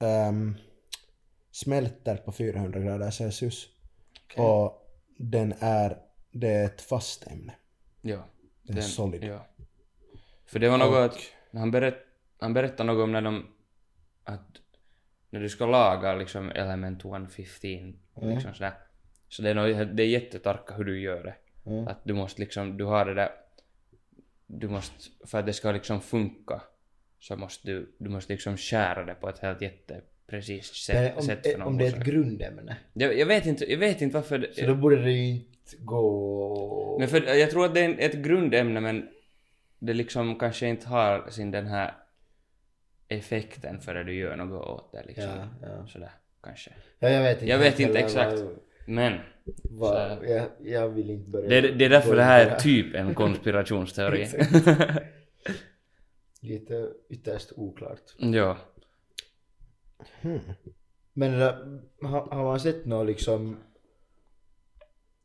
Speaker 1: ehm, smälter på 400 grader Celsius och den är, det är ett fast ämne.
Speaker 3: Ja.
Speaker 1: Den är solid.
Speaker 3: Ja. För det var något att när han, berätt, han berättade något om när de... Att när du ska laga liksom element 115, liksom sådär. Så det är, nog, det är jättetarka hur du gör det.
Speaker 2: Mm.
Speaker 3: Att du måste liksom, du har det där... Du måste, för att det ska liksom funka, så måste du, du måste liksom skära det på ett helt jätteprecist
Speaker 2: Men
Speaker 3: sätt.
Speaker 2: om,
Speaker 3: sätt för någon
Speaker 2: om det är ett
Speaker 3: orsak.
Speaker 2: grundämne.
Speaker 3: jag, jag, vet inte, jag vet inte varför... Det,
Speaker 2: Så då borde det ju inte gå...
Speaker 3: Men för, jag tror att det är en- ett grundämne men det liksom kanske inte har sin den här effekten förrän du gör något åt det liksom.
Speaker 2: Ja, ja.
Speaker 3: Sådär kanske.
Speaker 2: Ja, jag vet inte,
Speaker 3: Jag vet inte
Speaker 2: heller
Speaker 3: exakt.
Speaker 2: vad-
Speaker 3: Men
Speaker 2: vad-
Speaker 3: Så-
Speaker 2: jag, jag vill inte börja...
Speaker 3: det, det är därför
Speaker 2: gå
Speaker 3: det här
Speaker 2: in på
Speaker 3: är typ en konspirationsteori.
Speaker 2: Lite ytterst oklart.
Speaker 3: (laughs) ja.
Speaker 1: hmm,
Speaker 2: Men det där, har, har man sett någon liksom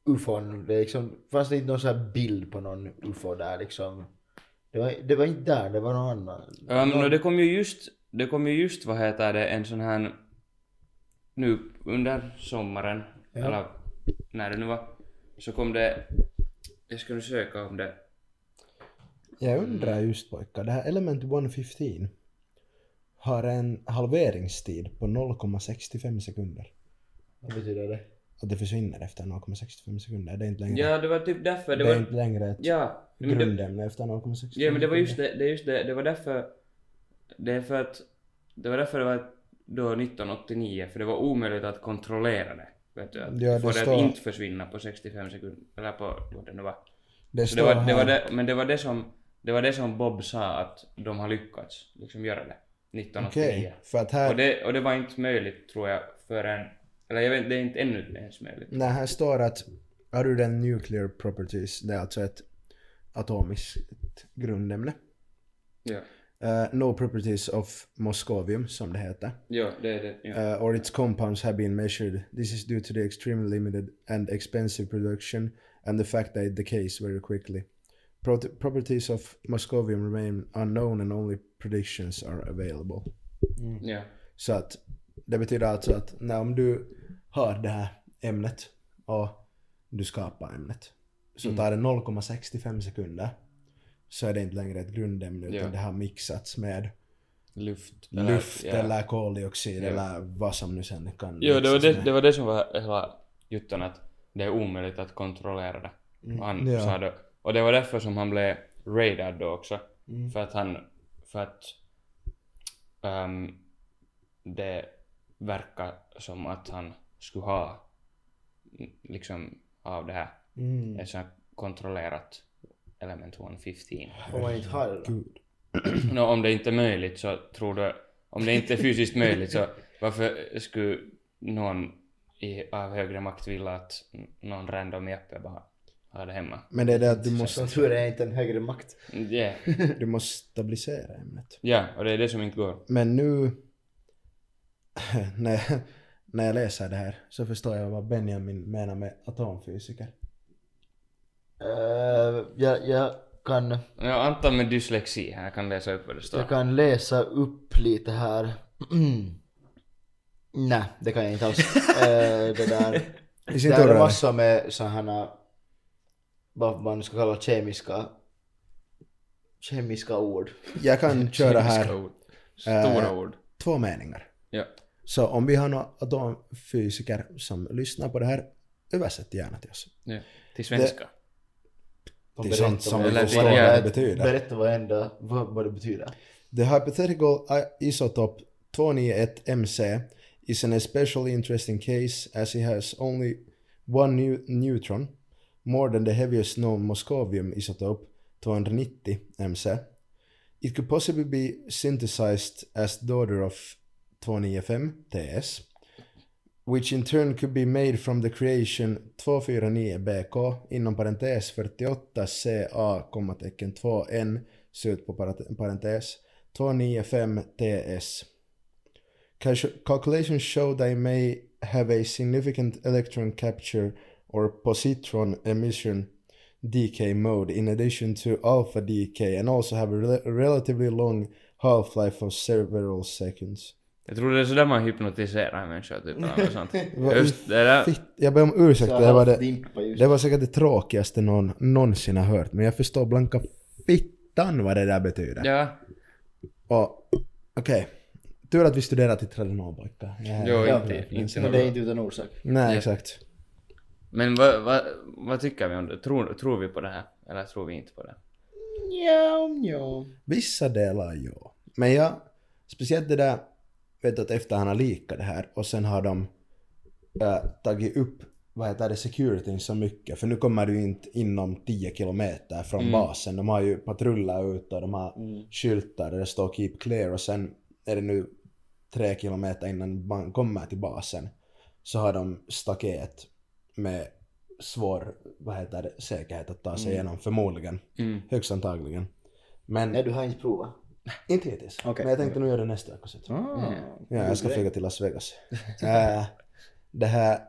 Speaker 2: ufon? Det är liksom, fanns det inte någon sån här bild på någon ufo där liksom? Det var, det var inte där, det var någon annan.
Speaker 3: Um, no, det kom ju just, det kom ju just vad heter det, en sån här nu under sommaren,
Speaker 2: Ja.
Speaker 3: eller när det nu var, så kom det, jag ska nu söka om det
Speaker 1: Jag undrar just pojkar, det här Element 115 har en halveringstid på 0,65 sekunder.
Speaker 2: Vad betyder det?
Speaker 1: Att det försvinner efter 0,65 sekunder. Det är inte längre,
Speaker 3: Ja, det var typ därför.
Speaker 1: det
Speaker 3: Det
Speaker 1: är
Speaker 3: var,
Speaker 1: inte längre ett
Speaker 3: ja, men det,
Speaker 1: grundämne efter 0,65
Speaker 3: ja, men det var just det, det, är just det. Det var därför. Det är för att. Det var därför det var då 1989, för det var omöjligt att kontrollera det. Vet du, att
Speaker 1: Ja, det
Speaker 3: få det
Speaker 1: står-
Speaker 3: att inte försvinna på 65 sekunder, eller på vad det nu var.
Speaker 1: Det
Speaker 3: Så
Speaker 1: står
Speaker 3: det var, det var
Speaker 1: här-
Speaker 3: det, men det var det som, det var det som Bob sa att de har lyckats liksom göra det. 1989.
Speaker 1: Okej, för att här...
Speaker 3: Och, det, och det var inte möjligt tror jag förrän, eller jag vet inte, det är inte ännu ens möjligt.
Speaker 1: Nej, här står att other than nuclear properties, det är alltså ett atomiskt grundämne.
Speaker 3: Ja,
Speaker 1: Eh, no properties of moscovium, som det heter.
Speaker 3: ja det är det. Ja.
Speaker 1: uh, or its compounds have been measured. This is due to the extremely limited and expensive production and the fact that it decays very quickly. Pro- properties of moscovium remain unknown and only predictions are available.
Speaker 3: ja.
Speaker 1: Så att det betyder alltså att när om du har det här ämnet och du skapar ämnet
Speaker 3: Mm.
Speaker 1: så tar det 0,65 sekunder så är det inte längre ett grundämne utan
Speaker 3: Ja.
Speaker 1: det har mixats med
Speaker 3: Luft.
Speaker 1: luft
Speaker 3: ja.
Speaker 1: eller koldioxid
Speaker 3: Ja.
Speaker 1: eller vad som nu sen kan
Speaker 3: Jo, det var
Speaker 1: mixas
Speaker 3: det,
Speaker 1: med.
Speaker 3: det var det som var hela juttan att det är omöjligt att kontrollera det. Och han
Speaker 1: Ja.
Speaker 3: sa det. Och det var därför som han blev raidad då också. För att han, för att ehm, det verkar som att han skulle ha mm, liksom av det här
Speaker 2: Mm.
Speaker 3: ett sånt här kontrollerat element 115.
Speaker 2: Om man inte har det då?
Speaker 1: Gud. Mm.
Speaker 3: Nå, om det inte är möjligt så tror du... Om det inte är fysiskt
Speaker 1: (laughs)
Speaker 3: möjligt så varför skulle någon i, av högre makt vilja att n- någon random Jeppe bara har det hemma?
Speaker 1: Men det är det att du
Speaker 2: Som
Speaker 1: måste,
Speaker 2: tur är inte en högre makt.
Speaker 3: Ja,
Speaker 1: du måste stabilisera ämnet.
Speaker 3: Ja, och det är det som inte går.
Speaker 1: Men nu (laughs) när, när jag läser det här så förstår jag vad Benjamin menar med atomfysiker.
Speaker 2: Eh, jag, jag, kan,
Speaker 3: Ja, Anton med dyslexi här kan läsa upp vad det står.
Speaker 2: jag kan läsa upp lite här. (clears throat) Nej, det kan jag inte
Speaker 3: (laughs)
Speaker 2: alls. Eh, det där.
Speaker 1: I sin
Speaker 2: Det är
Speaker 1: tur
Speaker 2: massor med sådana, vad man ska kalla kemiska, kemiska ord.
Speaker 1: jag
Speaker 2: (laughs)
Speaker 1: kan köra
Speaker 3: Kemiska
Speaker 1: här
Speaker 3: Ord. Stora
Speaker 1: Eh,
Speaker 3: ord.
Speaker 1: två meningar.
Speaker 3: Ja.
Speaker 1: Så om vi har några atomfysiker som lyssnar på det här, översätt gärna till oss.
Speaker 3: ja. Till svenska.
Speaker 2: De
Speaker 1: Det är
Speaker 2: berättar
Speaker 1: sånt som
Speaker 2: vad-
Speaker 1: vi
Speaker 3: Eller
Speaker 1: förstår
Speaker 3: det
Speaker 1: vad
Speaker 3: är-
Speaker 1: det betyder.
Speaker 2: Berätta vad, enda, vad, vad det betyder.
Speaker 1: The hypothetical i- isotope 291MC is an especially interesting case as it has only one new neutron, more than the heaviest known moscovium isotope 290MC. It could possibly be synthesized as daughter of 295TS, which in turn could be made from the creation 249BK inom parentes 48CA, 2N, slut på parate- parentes, 295TS. Calcu- Calculations show they may have a significant electron capture or positron emission decay mode in addition to alpha decay and also have a rel- relatively long half-life of several seconds.
Speaker 3: Jag tror det är sådär man hypnotiserar en människa typ eller
Speaker 1: (laughs)
Speaker 3: något sånt. Just det där.
Speaker 1: Fitt, jag ber om ursäkt, det, här var det,
Speaker 2: Dimpa just.
Speaker 1: det var säkert det tråkigaste någon någonsin har hört men jag förstår blanka fittan vad det där betyder.
Speaker 3: Ja.
Speaker 1: Och okej, tur att vi studerar till Tradenoboika.
Speaker 3: Jo,
Speaker 2: Ja,
Speaker 3: inte, inte
Speaker 2: Men det är
Speaker 3: något.
Speaker 2: inte utan orsak.
Speaker 1: Nej,
Speaker 3: Ja.
Speaker 1: exakt.
Speaker 3: Men vad, vad, vad tycker vi om det? Tror, tror vi på det här? Eller tror vi inte på det?
Speaker 2: Ja, ja.
Speaker 1: Vissa delar ja. Men jag, speciellt det där, vet du, att efter han har likat det här och sen har de äh, tagit upp, vad heter det, securityn så mycket. För nu kommer du inte inom 10 kilometer från
Speaker 3: Mm.
Speaker 1: basen. De har ju patruller ute och de har
Speaker 2: Mm.
Speaker 1: skyltar där det står “Keep clear” och sen är det nu tre kilometer innan man kommer till basen så har de staket med svår, vad heter det, säkerhet att ta sig
Speaker 2: Mm.
Speaker 1: igenom förmodligen.
Speaker 3: Mm.
Speaker 1: Högst antagligen. Men
Speaker 2: Nej, du har inte provat.
Speaker 1: inte hittills.
Speaker 2: Okej.
Speaker 1: Men jag tänkte nog göra det nästa vecka. så.
Speaker 2: Ah,
Speaker 1: Ja,
Speaker 2: god
Speaker 1: jag ska
Speaker 2: grej.
Speaker 1: flyga till Las Vegas. Äh, det här,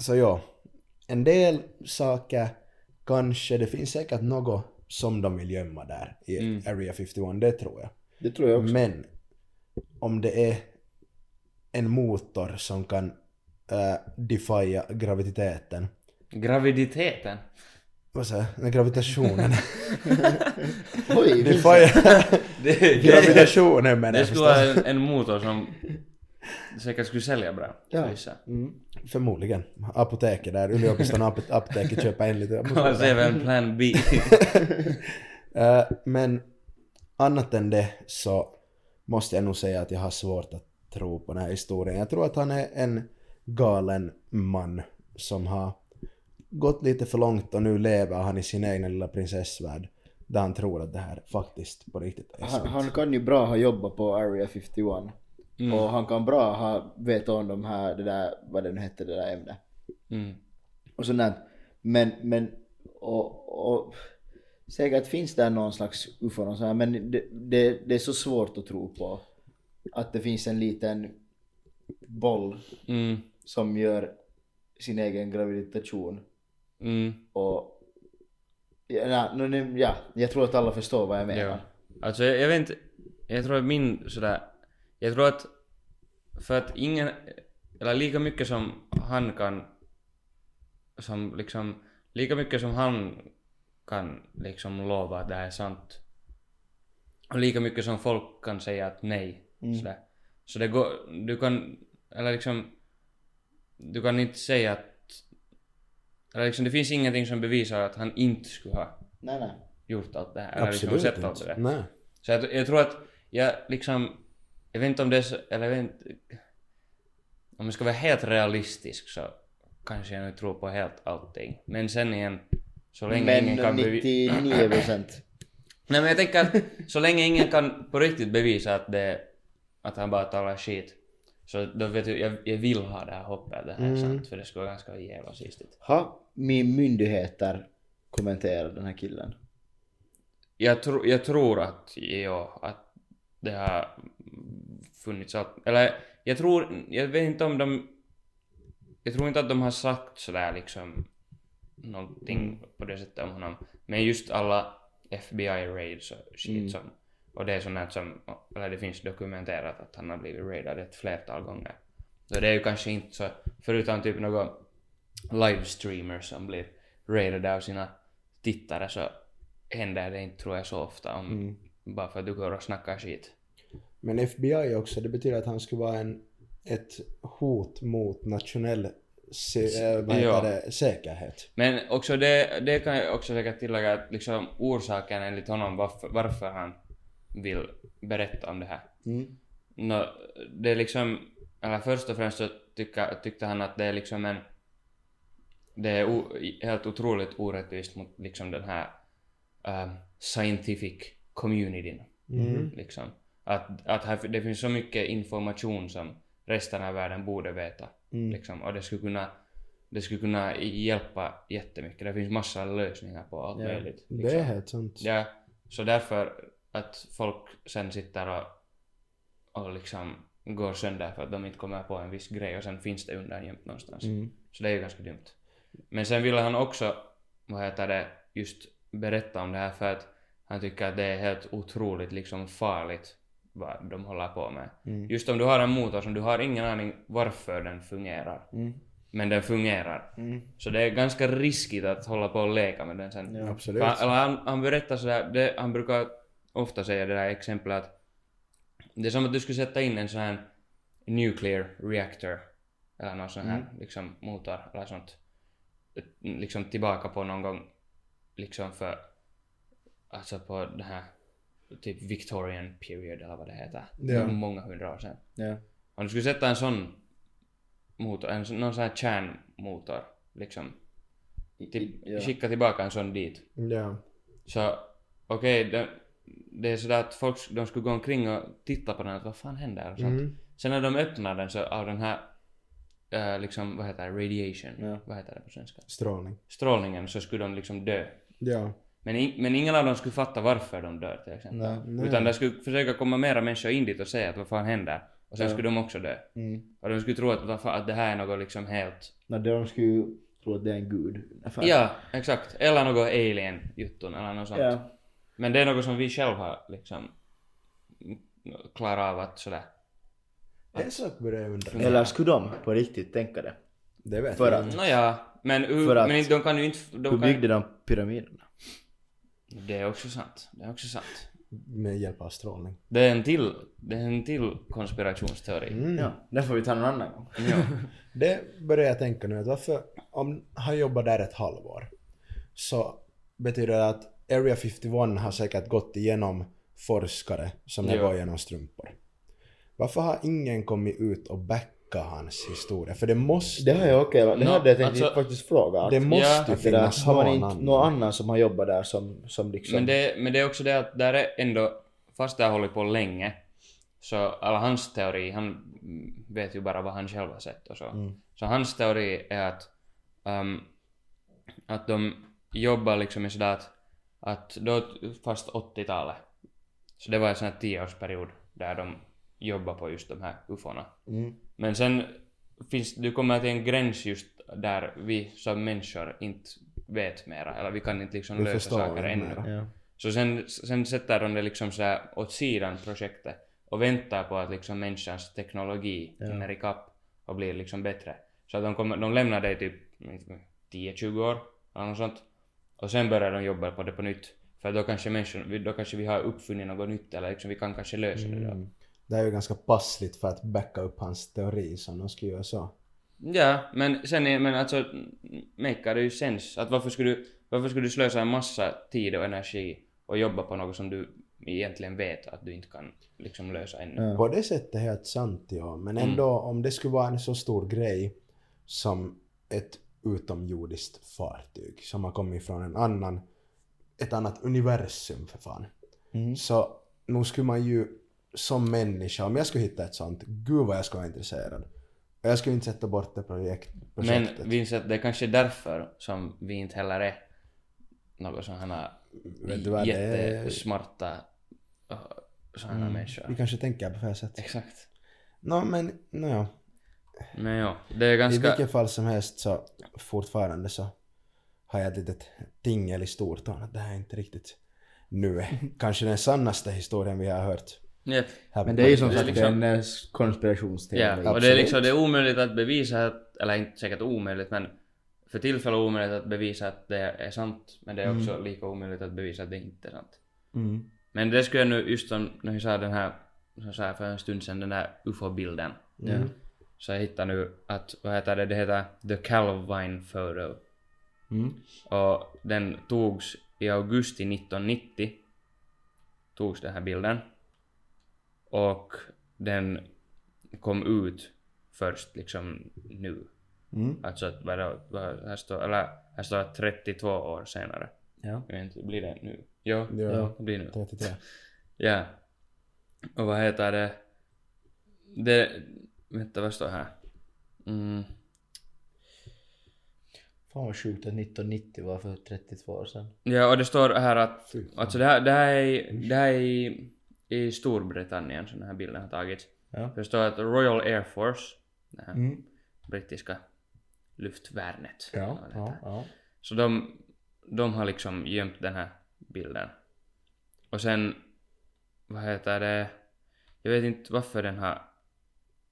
Speaker 1: så ja. En del saker kanske, det finns säkert något som de vill gömma där i
Speaker 3: Mm.
Speaker 1: Area 51, det tror jag.
Speaker 2: Det tror jag också.
Speaker 1: Men om det är en motor som kan äh, defia graviteten,
Speaker 3: Graviditeten?
Speaker 1: vad säger jag, Nej,
Speaker 3: (laughs)
Speaker 1: gravitationen,
Speaker 2: Oj,
Speaker 1: defia
Speaker 3: Det, det,
Speaker 1: gravitationen menar
Speaker 3: det
Speaker 1: jag
Speaker 3: skulle vara
Speaker 1: förstås.
Speaker 3: en, en motor som säkert skulle sälja bra.
Speaker 2: Ja.
Speaker 3: Vissa.
Speaker 2: Mm.
Speaker 1: Förmodligen. Apoteket där, Yliopiston ap- apoteket köper en
Speaker 3: (laughs)
Speaker 1: lite.
Speaker 3: Man ser även
Speaker 1: (laughs)
Speaker 3: plan B.
Speaker 1: Eh, men annat än det så måste jag nog säga att jag har svårt att tro på den här historien. Jag tror att han är en galen man som har gått lite för långt och nu lever han i sin egna lilla prinsessvärld där han tror att det här faktiskt på riktigt är
Speaker 2: Han,
Speaker 1: sant.
Speaker 2: han kan ju bra ha jobbat på Area 51.
Speaker 3: Mm.
Speaker 2: Och han kan bra ha vet om de här, det där, vad det nu hette, det där ämnet.
Speaker 3: Mm.
Speaker 2: Och sånt där. Men, men, och, och säkert finns där någon slags ufo och så här, men det, det, det är så svårt att tro på. Att det finns en liten boll
Speaker 3: Mm.
Speaker 2: som gör sin egen gravitation
Speaker 3: Mm.
Speaker 2: och ja, na- nu- nu- ja, jag tror att alla förstår vad jag menar.
Speaker 3: Ja. Alltså jag, jag vet inte. Jag tror att min sådär. Jag tror att för att ingen, eller lika mycket som han kan, som liksom, lika mycket som han kan liksom lova att det här är sant. Och lika mycket som folk kan säga att nej.
Speaker 2: Mm.
Speaker 3: Sådär. Så det går, du kan, eller liksom, du kan inte säga att, eller liksom det finns ingenting som bevisar att han inte skulle ha
Speaker 2: Nej, nej.
Speaker 3: gjort allt det här. Eller liksom
Speaker 1: Absolut
Speaker 3: sett allt det
Speaker 1: inte.
Speaker 3: där.
Speaker 1: Nej.
Speaker 3: Så jag, jag tror att jag liksom, jag vet inte om det är så, eller jag vet inte, om jag ska vara helt realistisk så kanske jag nu tror på helt allting. Men sen igen, så länge ingen kan
Speaker 2: Men
Speaker 3: bevisa...
Speaker 2: 99 procent.
Speaker 3: Nej men jag tänker att så länge ingen kan på riktigt bevisa att det, att han bara talar skit. Så då vet jag, jag, jag vill ha det här hoppet, det här är sant, för det skulle vara ganska jävla sistigt.
Speaker 2: Har min myndigheter kommenterat den här killen?
Speaker 3: Jag, tro, jag tror att, ja, att det har funnits allt. Eller jag tror, jag vet inte om de... Jag tror inte att de har sagt sådär liksom någonting på det sättet om honom. Men just alla FBI raids och shit
Speaker 2: Mm.
Speaker 3: som... Och det är sånt här som, eller det finns dokumenterat att han har blivit raidad ett flertal gånger. Så det är ju kanske inte så, förutom typ några livestreamers som blir raidade av sina tittare så händer det inte tror jag så ofta om, bara för att du går och snackar skit.
Speaker 1: Men FBI också, det betyder att han skulle vara en, ett hot mot nationell se, äh, vad heter
Speaker 3: Ja.
Speaker 1: det, säkerhet.
Speaker 3: Men också det, det kan jag också säkert tillägga att liksom orsaken enligt honom varför, varför han vill berätta om det här.
Speaker 2: Mm.
Speaker 3: Nå, det är liksom, eller först och främst så tycka, tyckte han att det är liksom en, det är o, helt otroligt orättvist mot liksom den här ehm, scientific communityn.
Speaker 1: Mm.
Speaker 3: Liksom. Att, att här, det finns så mycket information som resten av världen borde veta.
Speaker 1: Mm.
Speaker 3: Liksom. Och det skulle, kunna, det skulle kunna hjälpa jättemycket. Det finns massa lösningar på allt
Speaker 2: Ja,
Speaker 3: möjligt. Liksom.
Speaker 1: Det är helt sant.
Speaker 3: Ja, så därför att folk sen sitter och, och liksom går sönder för att de inte kommer på en viss grej och sen finns det undangömt någonstans.
Speaker 1: Mm.
Speaker 3: Så det är ju ganska dumt. Men sen ville han också, vad heter det, just berätta om det här för att han tycker att det är helt otroligt liksom farligt vad de håller på med.
Speaker 2: Mm.
Speaker 3: Just om du har en motor som du har ingen aning varför den fungerar.
Speaker 2: Mm.
Speaker 3: Men den fungerar.
Speaker 2: Mm.
Speaker 3: Så det är ganska riskigt att hålla på och leka med den sen.
Speaker 2: Ja.
Speaker 1: Absolut.
Speaker 3: För, han- eller han, han berättar sådär, det, han brukar ofta säga det där exemplet att Det är som att du skulle sätta in en sån här nuclear reactor eller någon sån här liksom motor eller sånt liksom tillbaka på någon gång liksom för alltså på den här typ Victorian period eller vad det heter.
Speaker 1: Ja.
Speaker 3: Många hundra år sedan.
Speaker 2: Ja.
Speaker 3: Om du skulle sätta en sån motor, en, sån- någon sån här kärnmotor liksom till,
Speaker 2: ja.
Speaker 3: skicka tillbaka en sån dit
Speaker 1: Ja.
Speaker 3: så okej, det, det är sådär att folk de skulle gå omkring och titta på den att vad fan händer och sånt.
Speaker 1: Mm.
Speaker 3: Sen när de öppnar den så av den här eh, liksom, vad heter det, radiation,
Speaker 2: Ja.
Speaker 3: vad heter det på svenska?
Speaker 1: Strålning.
Speaker 3: Strålningen så skulle de liksom dö.
Speaker 1: Ja.
Speaker 3: Men, in, men ingen av dem skulle fatta varför de dör till exempel.
Speaker 2: Nej.
Speaker 1: Nej.
Speaker 3: Utan det skulle försöka komma mera människor in dit och säga att vad fan händer? Och sen
Speaker 2: Ja.
Speaker 3: skulle de också dö.
Speaker 2: Mm.
Speaker 3: Och de skulle tro att, vad fan, att det här är något liksom helt...
Speaker 2: No, de skulle ju tro att det är en gud. ungefär.
Speaker 3: Ja, exakt. Eller något alien-jutton eller något sånt.
Speaker 2: ja.
Speaker 3: Men det är något som vi själva har liksom klarat av att sådär.
Speaker 1: En sak börjar jag undra.
Speaker 3: Ja.
Speaker 2: Eller skulle de på riktigt tänka det?
Speaker 1: Det vet
Speaker 2: För
Speaker 1: jag
Speaker 2: att-
Speaker 1: inte.
Speaker 3: Nåja, men, hur,
Speaker 2: För att-
Speaker 3: men de kan ju inte...
Speaker 2: Hur
Speaker 3: De
Speaker 2: byggde
Speaker 3: kan,
Speaker 2: de pyramiderna?
Speaker 3: det är också sant. Det är också sant.
Speaker 1: Med hjälp av strålning.
Speaker 3: Det är en till, det är en till konspirationsteori.
Speaker 1: Mm.
Speaker 2: Ja, den får vi ta någon annan gång.
Speaker 1: Det börjar jag tänka nu att varför, om han jobbar där ett halvår, så betyder det att Area 51 har säkert gått igenom forskare som har
Speaker 3: Ja.
Speaker 1: gått igenom strumpor. Varför har ingen kommit ut och backat hans historia? För det måste,
Speaker 2: Det har jag också, det
Speaker 3: Nå,
Speaker 2: hade jag tänkt
Speaker 3: alltså-
Speaker 2: faktiskt fråga. att-
Speaker 1: det måste
Speaker 3: Ja.
Speaker 1: ju
Speaker 2: att det där,
Speaker 1: finnas
Speaker 2: har man
Speaker 1: någon
Speaker 2: inte
Speaker 1: annan.
Speaker 2: någon annan som har jobbat där som, som liksom...
Speaker 3: Men det, men det är också det att där är ändå, fast det har hållit på länge, så alla hans teori, han mm, vet ju bara vad han själv har sett och så.
Speaker 1: Mm.
Speaker 3: Så hans teori är att, ehm, att de jobbar liksom i sådär att, att då, fast 80-talet, så det var en sån här tioårsperiod där de jobbar på just de här ufona.
Speaker 2: Mm.
Speaker 3: Men sen finns, du kommer till en gräns just där vi som människor inte vet mera, eller vi kan inte liksom
Speaker 1: Vi
Speaker 3: lösa
Speaker 1: förstår inte
Speaker 3: saker ännu.
Speaker 1: mera.
Speaker 2: Ja.
Speaker 3: Så sen, sen sätter de det liksom så här åt sidan projektet och väntar på att liksom människans teknologi
Speaker 2: Ja.
Speaker 3: hinner ikapp och blir liksom bättre. Så att de, kommer, de lämnar det i typ 10-20 år eller något sånt. Och sen börjar de jobba på det på nytt. För då kanske, människor, då kanske vi har uppfunnit något nytt eller liksom vi kan kanske lösa det då.
Speaker 1: Mm. Det är ju ganska passligt för att backa upp hans teori som de skulle göra så.
Speaker 3: Ja, men sen är, men alltså, makear det ju sens. Att varför skulle, du- varför skulle du slösa en massa tid och energi och jobba på något som du egentligen vet att du inte kan liksom lösa ännu?
Speaker 2: Ja.
Speaker 1: På det sättet är helt sant, ja. Men
Speaker 3: Mm.
Speaker 1: ändå, om det skulle vara en så stor grej som ett utomjordiskt fartyg som har kommit från en annan, ett annat universum för fan.
Speaker 2: Mm.
Speaker 1: Så nu skulle man ju som människa, om jag skulle hitta ett sånt, gud vad jag skulle vara intresserad. Och jag skulle inte sätta bort det projekt,
Speaker 3: Men
Speaker 1: projektet.
Speaker 3: Vincent, det är kanske därför som vi inte heller är några sådana
Speaker 1: Vet du vad det är?
Speaker 3: jättesmarta sådana
Speaker 1: Mm. Vi
Speaker 3: människor.
Speaker 1: kanske tänker på fel sätt.
Speaker 3: Exakt.
Speaker 1: Nå men, nåja.
Speaker 3: Men ja, det är
Speaker 1: I
Speaker 3: ganska...
Speaker 1: vilket fall som helst så fortfarande så har jag ett litet tingel i stortån att det här är inte riktigt
Speaker 2: (laughs)
Speaker 1: nu är kanske den sannaste historien vi har hört.
Speaker 3: Japp.
Speaker 1: Här
Speaker 2: Men
Speaker 1: på
Speaker 2: det är ju som
Speaker 1: podcasten.
Speaker 2: sagt
Speaker 3: liksom-
Speaker 2: en eh, konspirationsteori.
Speaker 3: Ja, och det är liksom det är omöjligt att bevisa, att, eller inte säkert omöjligt men för tillfället omöjligt att bevisa att det är sant men det är
Speaker 1: Mm.
Speaker 3: också lika omöjligt att bevisa att det inte är sant.
Speaker 2: Mm.
Speaker 3: Men det skulle jag nu, just som när vi sa den här, som jag sa för en stund sedan, den där ufo-bilden.
Speaker 1: Mm.
Speaker 2: Ja.
Speaker 3: Så jag hittade nu att, vad heter det, det heter The Calvine Photo.
Speaker 2: Mm.
Speaker 3: Och den togs i augusti 1990. Togs den här bilden. Och den kom ut först liksom nu.
Speaker 2: Mm.
Speaker 3: Alltså att vadå, vad, här står, eller här står att 32 år senare.
Speaker 2: Ja.
Speaker 3: Jag vet inte, blir det nu? Jo,
Speaker 1: Ja.
Speaker 3: det blir nu.
Speaker 1: 33.
Speaker 3: Ja. Och vad heter det? Det... Vänta, vad står här? Mm.
Speaker 2: Fan vad sjukt att 1990 var för 32 år sedan.
Speaker 3: Ja, och det står här att...
Speaker 1: Fy fan.
Speaker 3: Alltså det här, det här är, i- det här är i, i Storbritannien som den här bilden har tagits.
Speaker 2: Ja.
Speaker 3: Det står att Royal Air Force, det här
Speaker 2: Mm.
Speaker 3: brittiska luftvärnet. eller
Speaker 1: Ja,
Speaker 3: vad det
Speaker 1: ja,
Speaker 3: heter.
Speaker 1: ja.
Speaker 3: Så de, de har liksom gömt den här bilden. Och sen, vad heter det? Jag vet inte varför den har...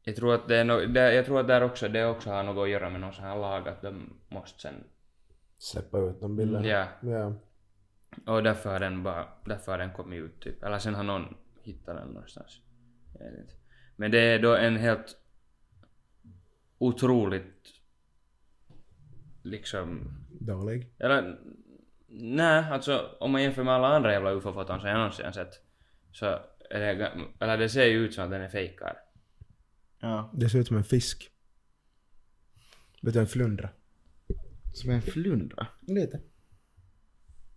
Speaker 3: Jag tror att det är no, det, jag tror att där också, det också har något att göra med någon sån här lag att de måste sen...
Speaker 1: Släppa ut de
Speaker 2: Mm,
Speaker 1: bilderna.
Speaker 3: Ja.
Speaker 1: Ja.
Speaker 3: Och därför har den bara, därför har den kommit ut typ. Eller sen har någon hittat den någonstans. Jag vet inte. Men det är då en helt otroligt liksom
Speaker 1: Dålig.
Speaker 3: eller nej, alltså om man jämför med alla andra jävla ufo-foton som jag någonsin har sett så är det, ga- eller det ser ju ut som att den är fejkad.
Speaker 2: Ja.
Speaker 1: Det ser ut som en fisk. Vet du, en flundra.
Speaker 2: Som en flundra.
Speaker 1: Lite.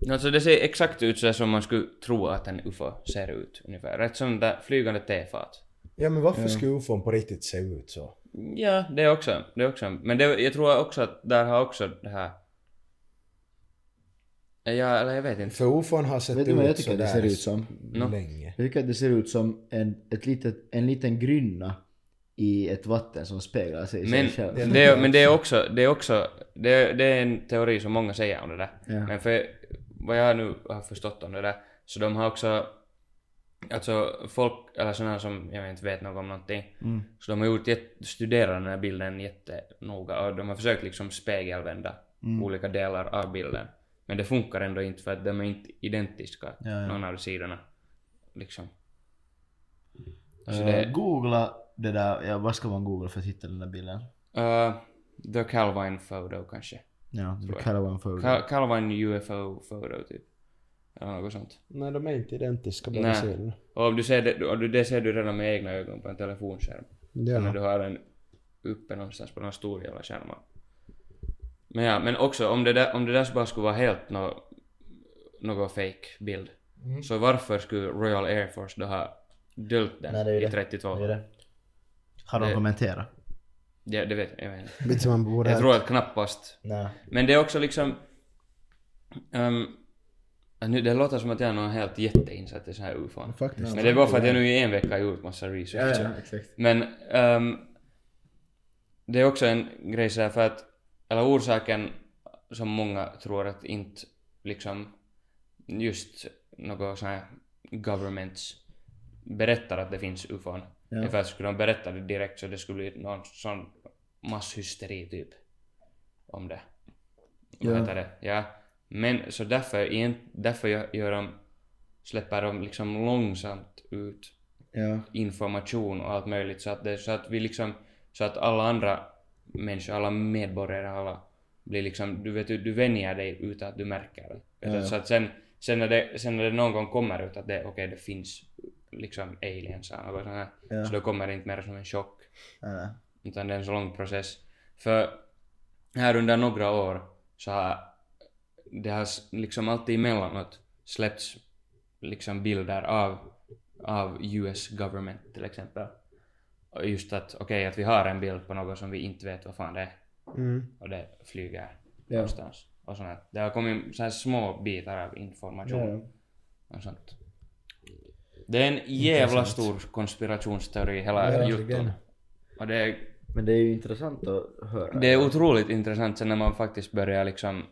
Speaker 3: Alltså det ser exakt ut så där som man skulle tro att en ufo ser ut ungefär. Rätt som där flygande tefat.
Speaker 1: Ja men varför skulle ufon på riktigt se ut så?
Speaker 3: Ja, det också. Det också. Men det, jag tror också att där har också det här... Ja, eller jag vet inte.
Speaker 1: För ufon har sett
Speaker 2: Vet du vad jag
Speaker 1: ut
Speaker 2: tycker det ser ut som?
Speaker 3: Nå.
Speaker 1: länge.
Speaker 2: Jag tycker att det ser ut som en, ett litet, en liten grynna i ett vatten som speglar sig i sig
Speaker 3: Men
Speaker 2: själv.
Speaker 3: det, är- men det är också, det är också, det är, det är en teori som många säger om det där.
Speaker 2: Ja.
Speaker 3: Men för vad jag nu har förstått om det där, så de har också, alltså folk, eller sådana som jag inte vet något om någonting,
Speaker 2: Mm.
Speaker 3: så de har gjort, jätte- studerat den här bilden jättenoga och de har försökt liksom spegelvända
Speaker 2: Mm.
Speaker 3: olika delar av bilden. Men det funkar ändå inte för att de är inte identiska,
Speaker 2: Ja, ja.
Speaker 3: någon av sidorna. Liksom. Så
Speaker 2: Eh,
Speaker 3: det-
Speaker 2: Googla det där, ja, vad ska man googla för att hitta den där bilden?
Speaker 3: Uh, the Calvin photo kanske.
Speaker 2: Ja, det
Speaker 3: Tror jag.
Speaker 2: kallar man för
Speaker 3: Cal- Calvin UFO photo typ. Eller något sånt.
Speaker 1: Nej de är inte identiska
Speaker 3: Nej.
Speaker 1: bara ser du.
Speaker 3: Och om du ser det, om du, det ser du redan med egna ögon på en telefonskärm.
Speaker 1: Ja.
Speaker 3: När du har den uppe någonstans på någon stor jävla skärm. Men ja, men också om det där, om det där bara skulle vara helt nå någon fake bild
Speaker 2: Mm.
Speaker 3: Så varför skulle Royal Air Force då ha dolt den
Speaker 2: Nej, det är ju
Speaker 3: i
Speaker 2: det.
Speaker 3: 32?
Speaker 2: Det är det. Har de
Speaker 3: Det-
Speaker 2: kommenterat?
Speaker 3: Ja, det vet jag. Jag, vet inte.
Speaker 1: Lite som man borde
Speaker 3: jag tror att knappast
Speaker 2: Nej.
Speaker 3: Men det är också liksom... ehm, nu, det låter som att jag är någon helt jätteinsatt i såna här ufon.
Speaker 2: Mm.
Speaker 1: Faktiskt.
Speaker 3: Men det är bara för att jag nu i en vecka har gjort massa research.
Speaker 2: exakt.
Speaker 3: Men ehm, det är också en grej så här för att, eller orsaken som många tror att inte liksom just något sån här governments berättar att det finns ufon.
Speaker 2: Ja.
Speaker 3: Ja. För att skulle de berätta det direkt så det skulle bli någon sån masshysteri typ om det. Vad
Speaker 2: Ja.
Speaker 3: heter det? Ja. Men så därför, egent- därför gör- gör de, släpper de liksom långsamt ut
Speaker 2: Ja.
Speaker 3: information och allt möjligt så att, det, så att vi liksom, så att alla andra människor, alla medborgare, alla blir liksom, du vet, du du vänjer dig utan att du märker det.
Speaker 2: Ja, ja.
Speaker 3: Så att sen, sen, när det, sen när det någon gång kommer ut att det, okej, det finns liksom aliens eller något sånt här,
Speaker 2: Ja.
Speaker 3: så då kommer det inte mer som en chock.
Speaker 2: Ja.
Speaker 3: Utan det är en så lång process. För här under några år så har det har s- liksom alltid emellanåt släppts liksom bilder av, av US government till exempel. Och just att okej att vi har en bild på något som vi inte vet vad fan det är
Speaker 1: Mm.
Speaker 3: och det flyger
Speaker 2: Ja.
Speaker 3: någonstans. Och sånt här. Det har kommit så här små bitar av information
Speaker 2: Ja, ja.
Speaker 3: och sånt. Det är en jävla stor konspirationsteori hela
Speaker 1: Verkligen.
Speaker 3: jutton. Och det är
Speaker 2: Men det är ju intressant att höra.
Speaker 3: det är otroligt intressant sen när man faktiskt börjar liksom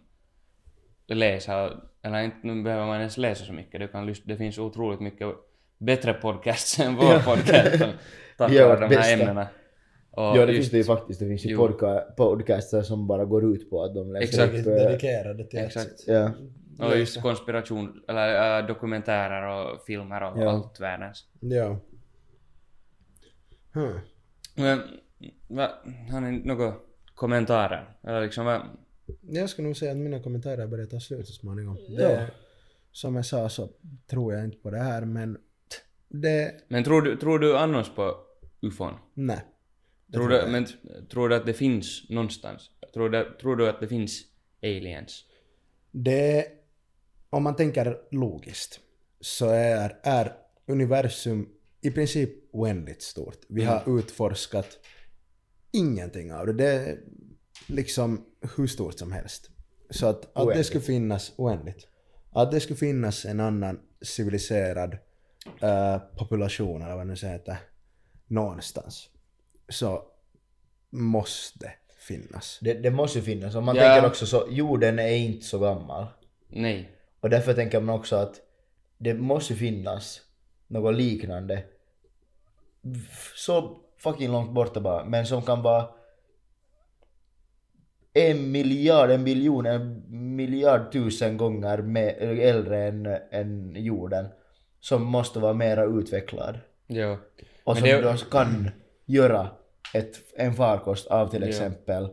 Speaker 3: läsa, eller inte nu behöver man ens läsa så mycket, du kan lyssna, det finns otroligt mycket bättre podcasts än vår podcast
Speaker 2: (laughs)
Speaker 3: som tack
Speaker 2: Vi gör
Speaker 3: vare
Speaker 2: vårt
Speaker 3: de här
Speaker 2: bästa.
Speaker 3: ämnena. Och
Speaker 2: Ja, det
Speaker 3: just-
Speaker 2: finns det ju faktiskt. Det finns ju
Speaker 3: Jo.
Speaker 2: podca- podcaster som bara går ut på att de läser upp...
Speaker 3: Exakt.
Speaker 2: eh,
Speaker 1: Dedikerade till
Speaker 3: Exakt.
Speaker 2: Ja.
Speaker 3: Och just konspiration, eller äh, dokumentärer och filmer och
Speaker 2: Ja.
Speaker 3: allt världens.
Speaker 1: Ja. Hmm.
Speaker 3: Men, va, har ni några kommentarer? Eller liksom vad...
Speaker 1: Jag skulle nog säga att mina kommentarer börjar ta slut så småningom.
Speaker 2: Ja.
Speaker 1: Det, som jag sa så tror jag inte på det här men det...
Speaker 3: Men tror du, tror du annars på ufon?
Speaker 1: Nej. Det
Speaker 3: Tror du, men tror du att det finns någonstans? Tror du, tror du att det finns aliens?
Speaker 1: Det, om man tänker logiskt, så är, är universum i princip oändligt stort. Vi har utforskat ingenting av det. Det är liksom hur stort som helst. Så att, att det
Speaker 2: Oändligt.
Speaker 1: skulle finnas oändligt. Att det skulle finnas en annan civiliserad eh, population, eller vad det nu heter, någonstans. Så måste finnas.
Speaker 2: Det, det måste ju finnas. Och man
Speaker 3: Ja.
Speaker 2: tänker också så, jorden är inte så gammal.
Speaker 3: Nej.
Speaker 2: Och därför tänker man också att det måste finnas något liknande f- så fucking långt borta bara, men som kan vara en miljard, en biljon, en miljard tusen gånger mer, äldre än, än jorden. Som måste vara mera utvecklad.
Speaker 3: Jo.
Speaker 2: Och
Speaker 3: Men
Speaker 2: som
Speaker 3: det-
Speaker 2: då kan göra ett, en farkost av till
Speaker 3: Ja.
Speaker 2: exempel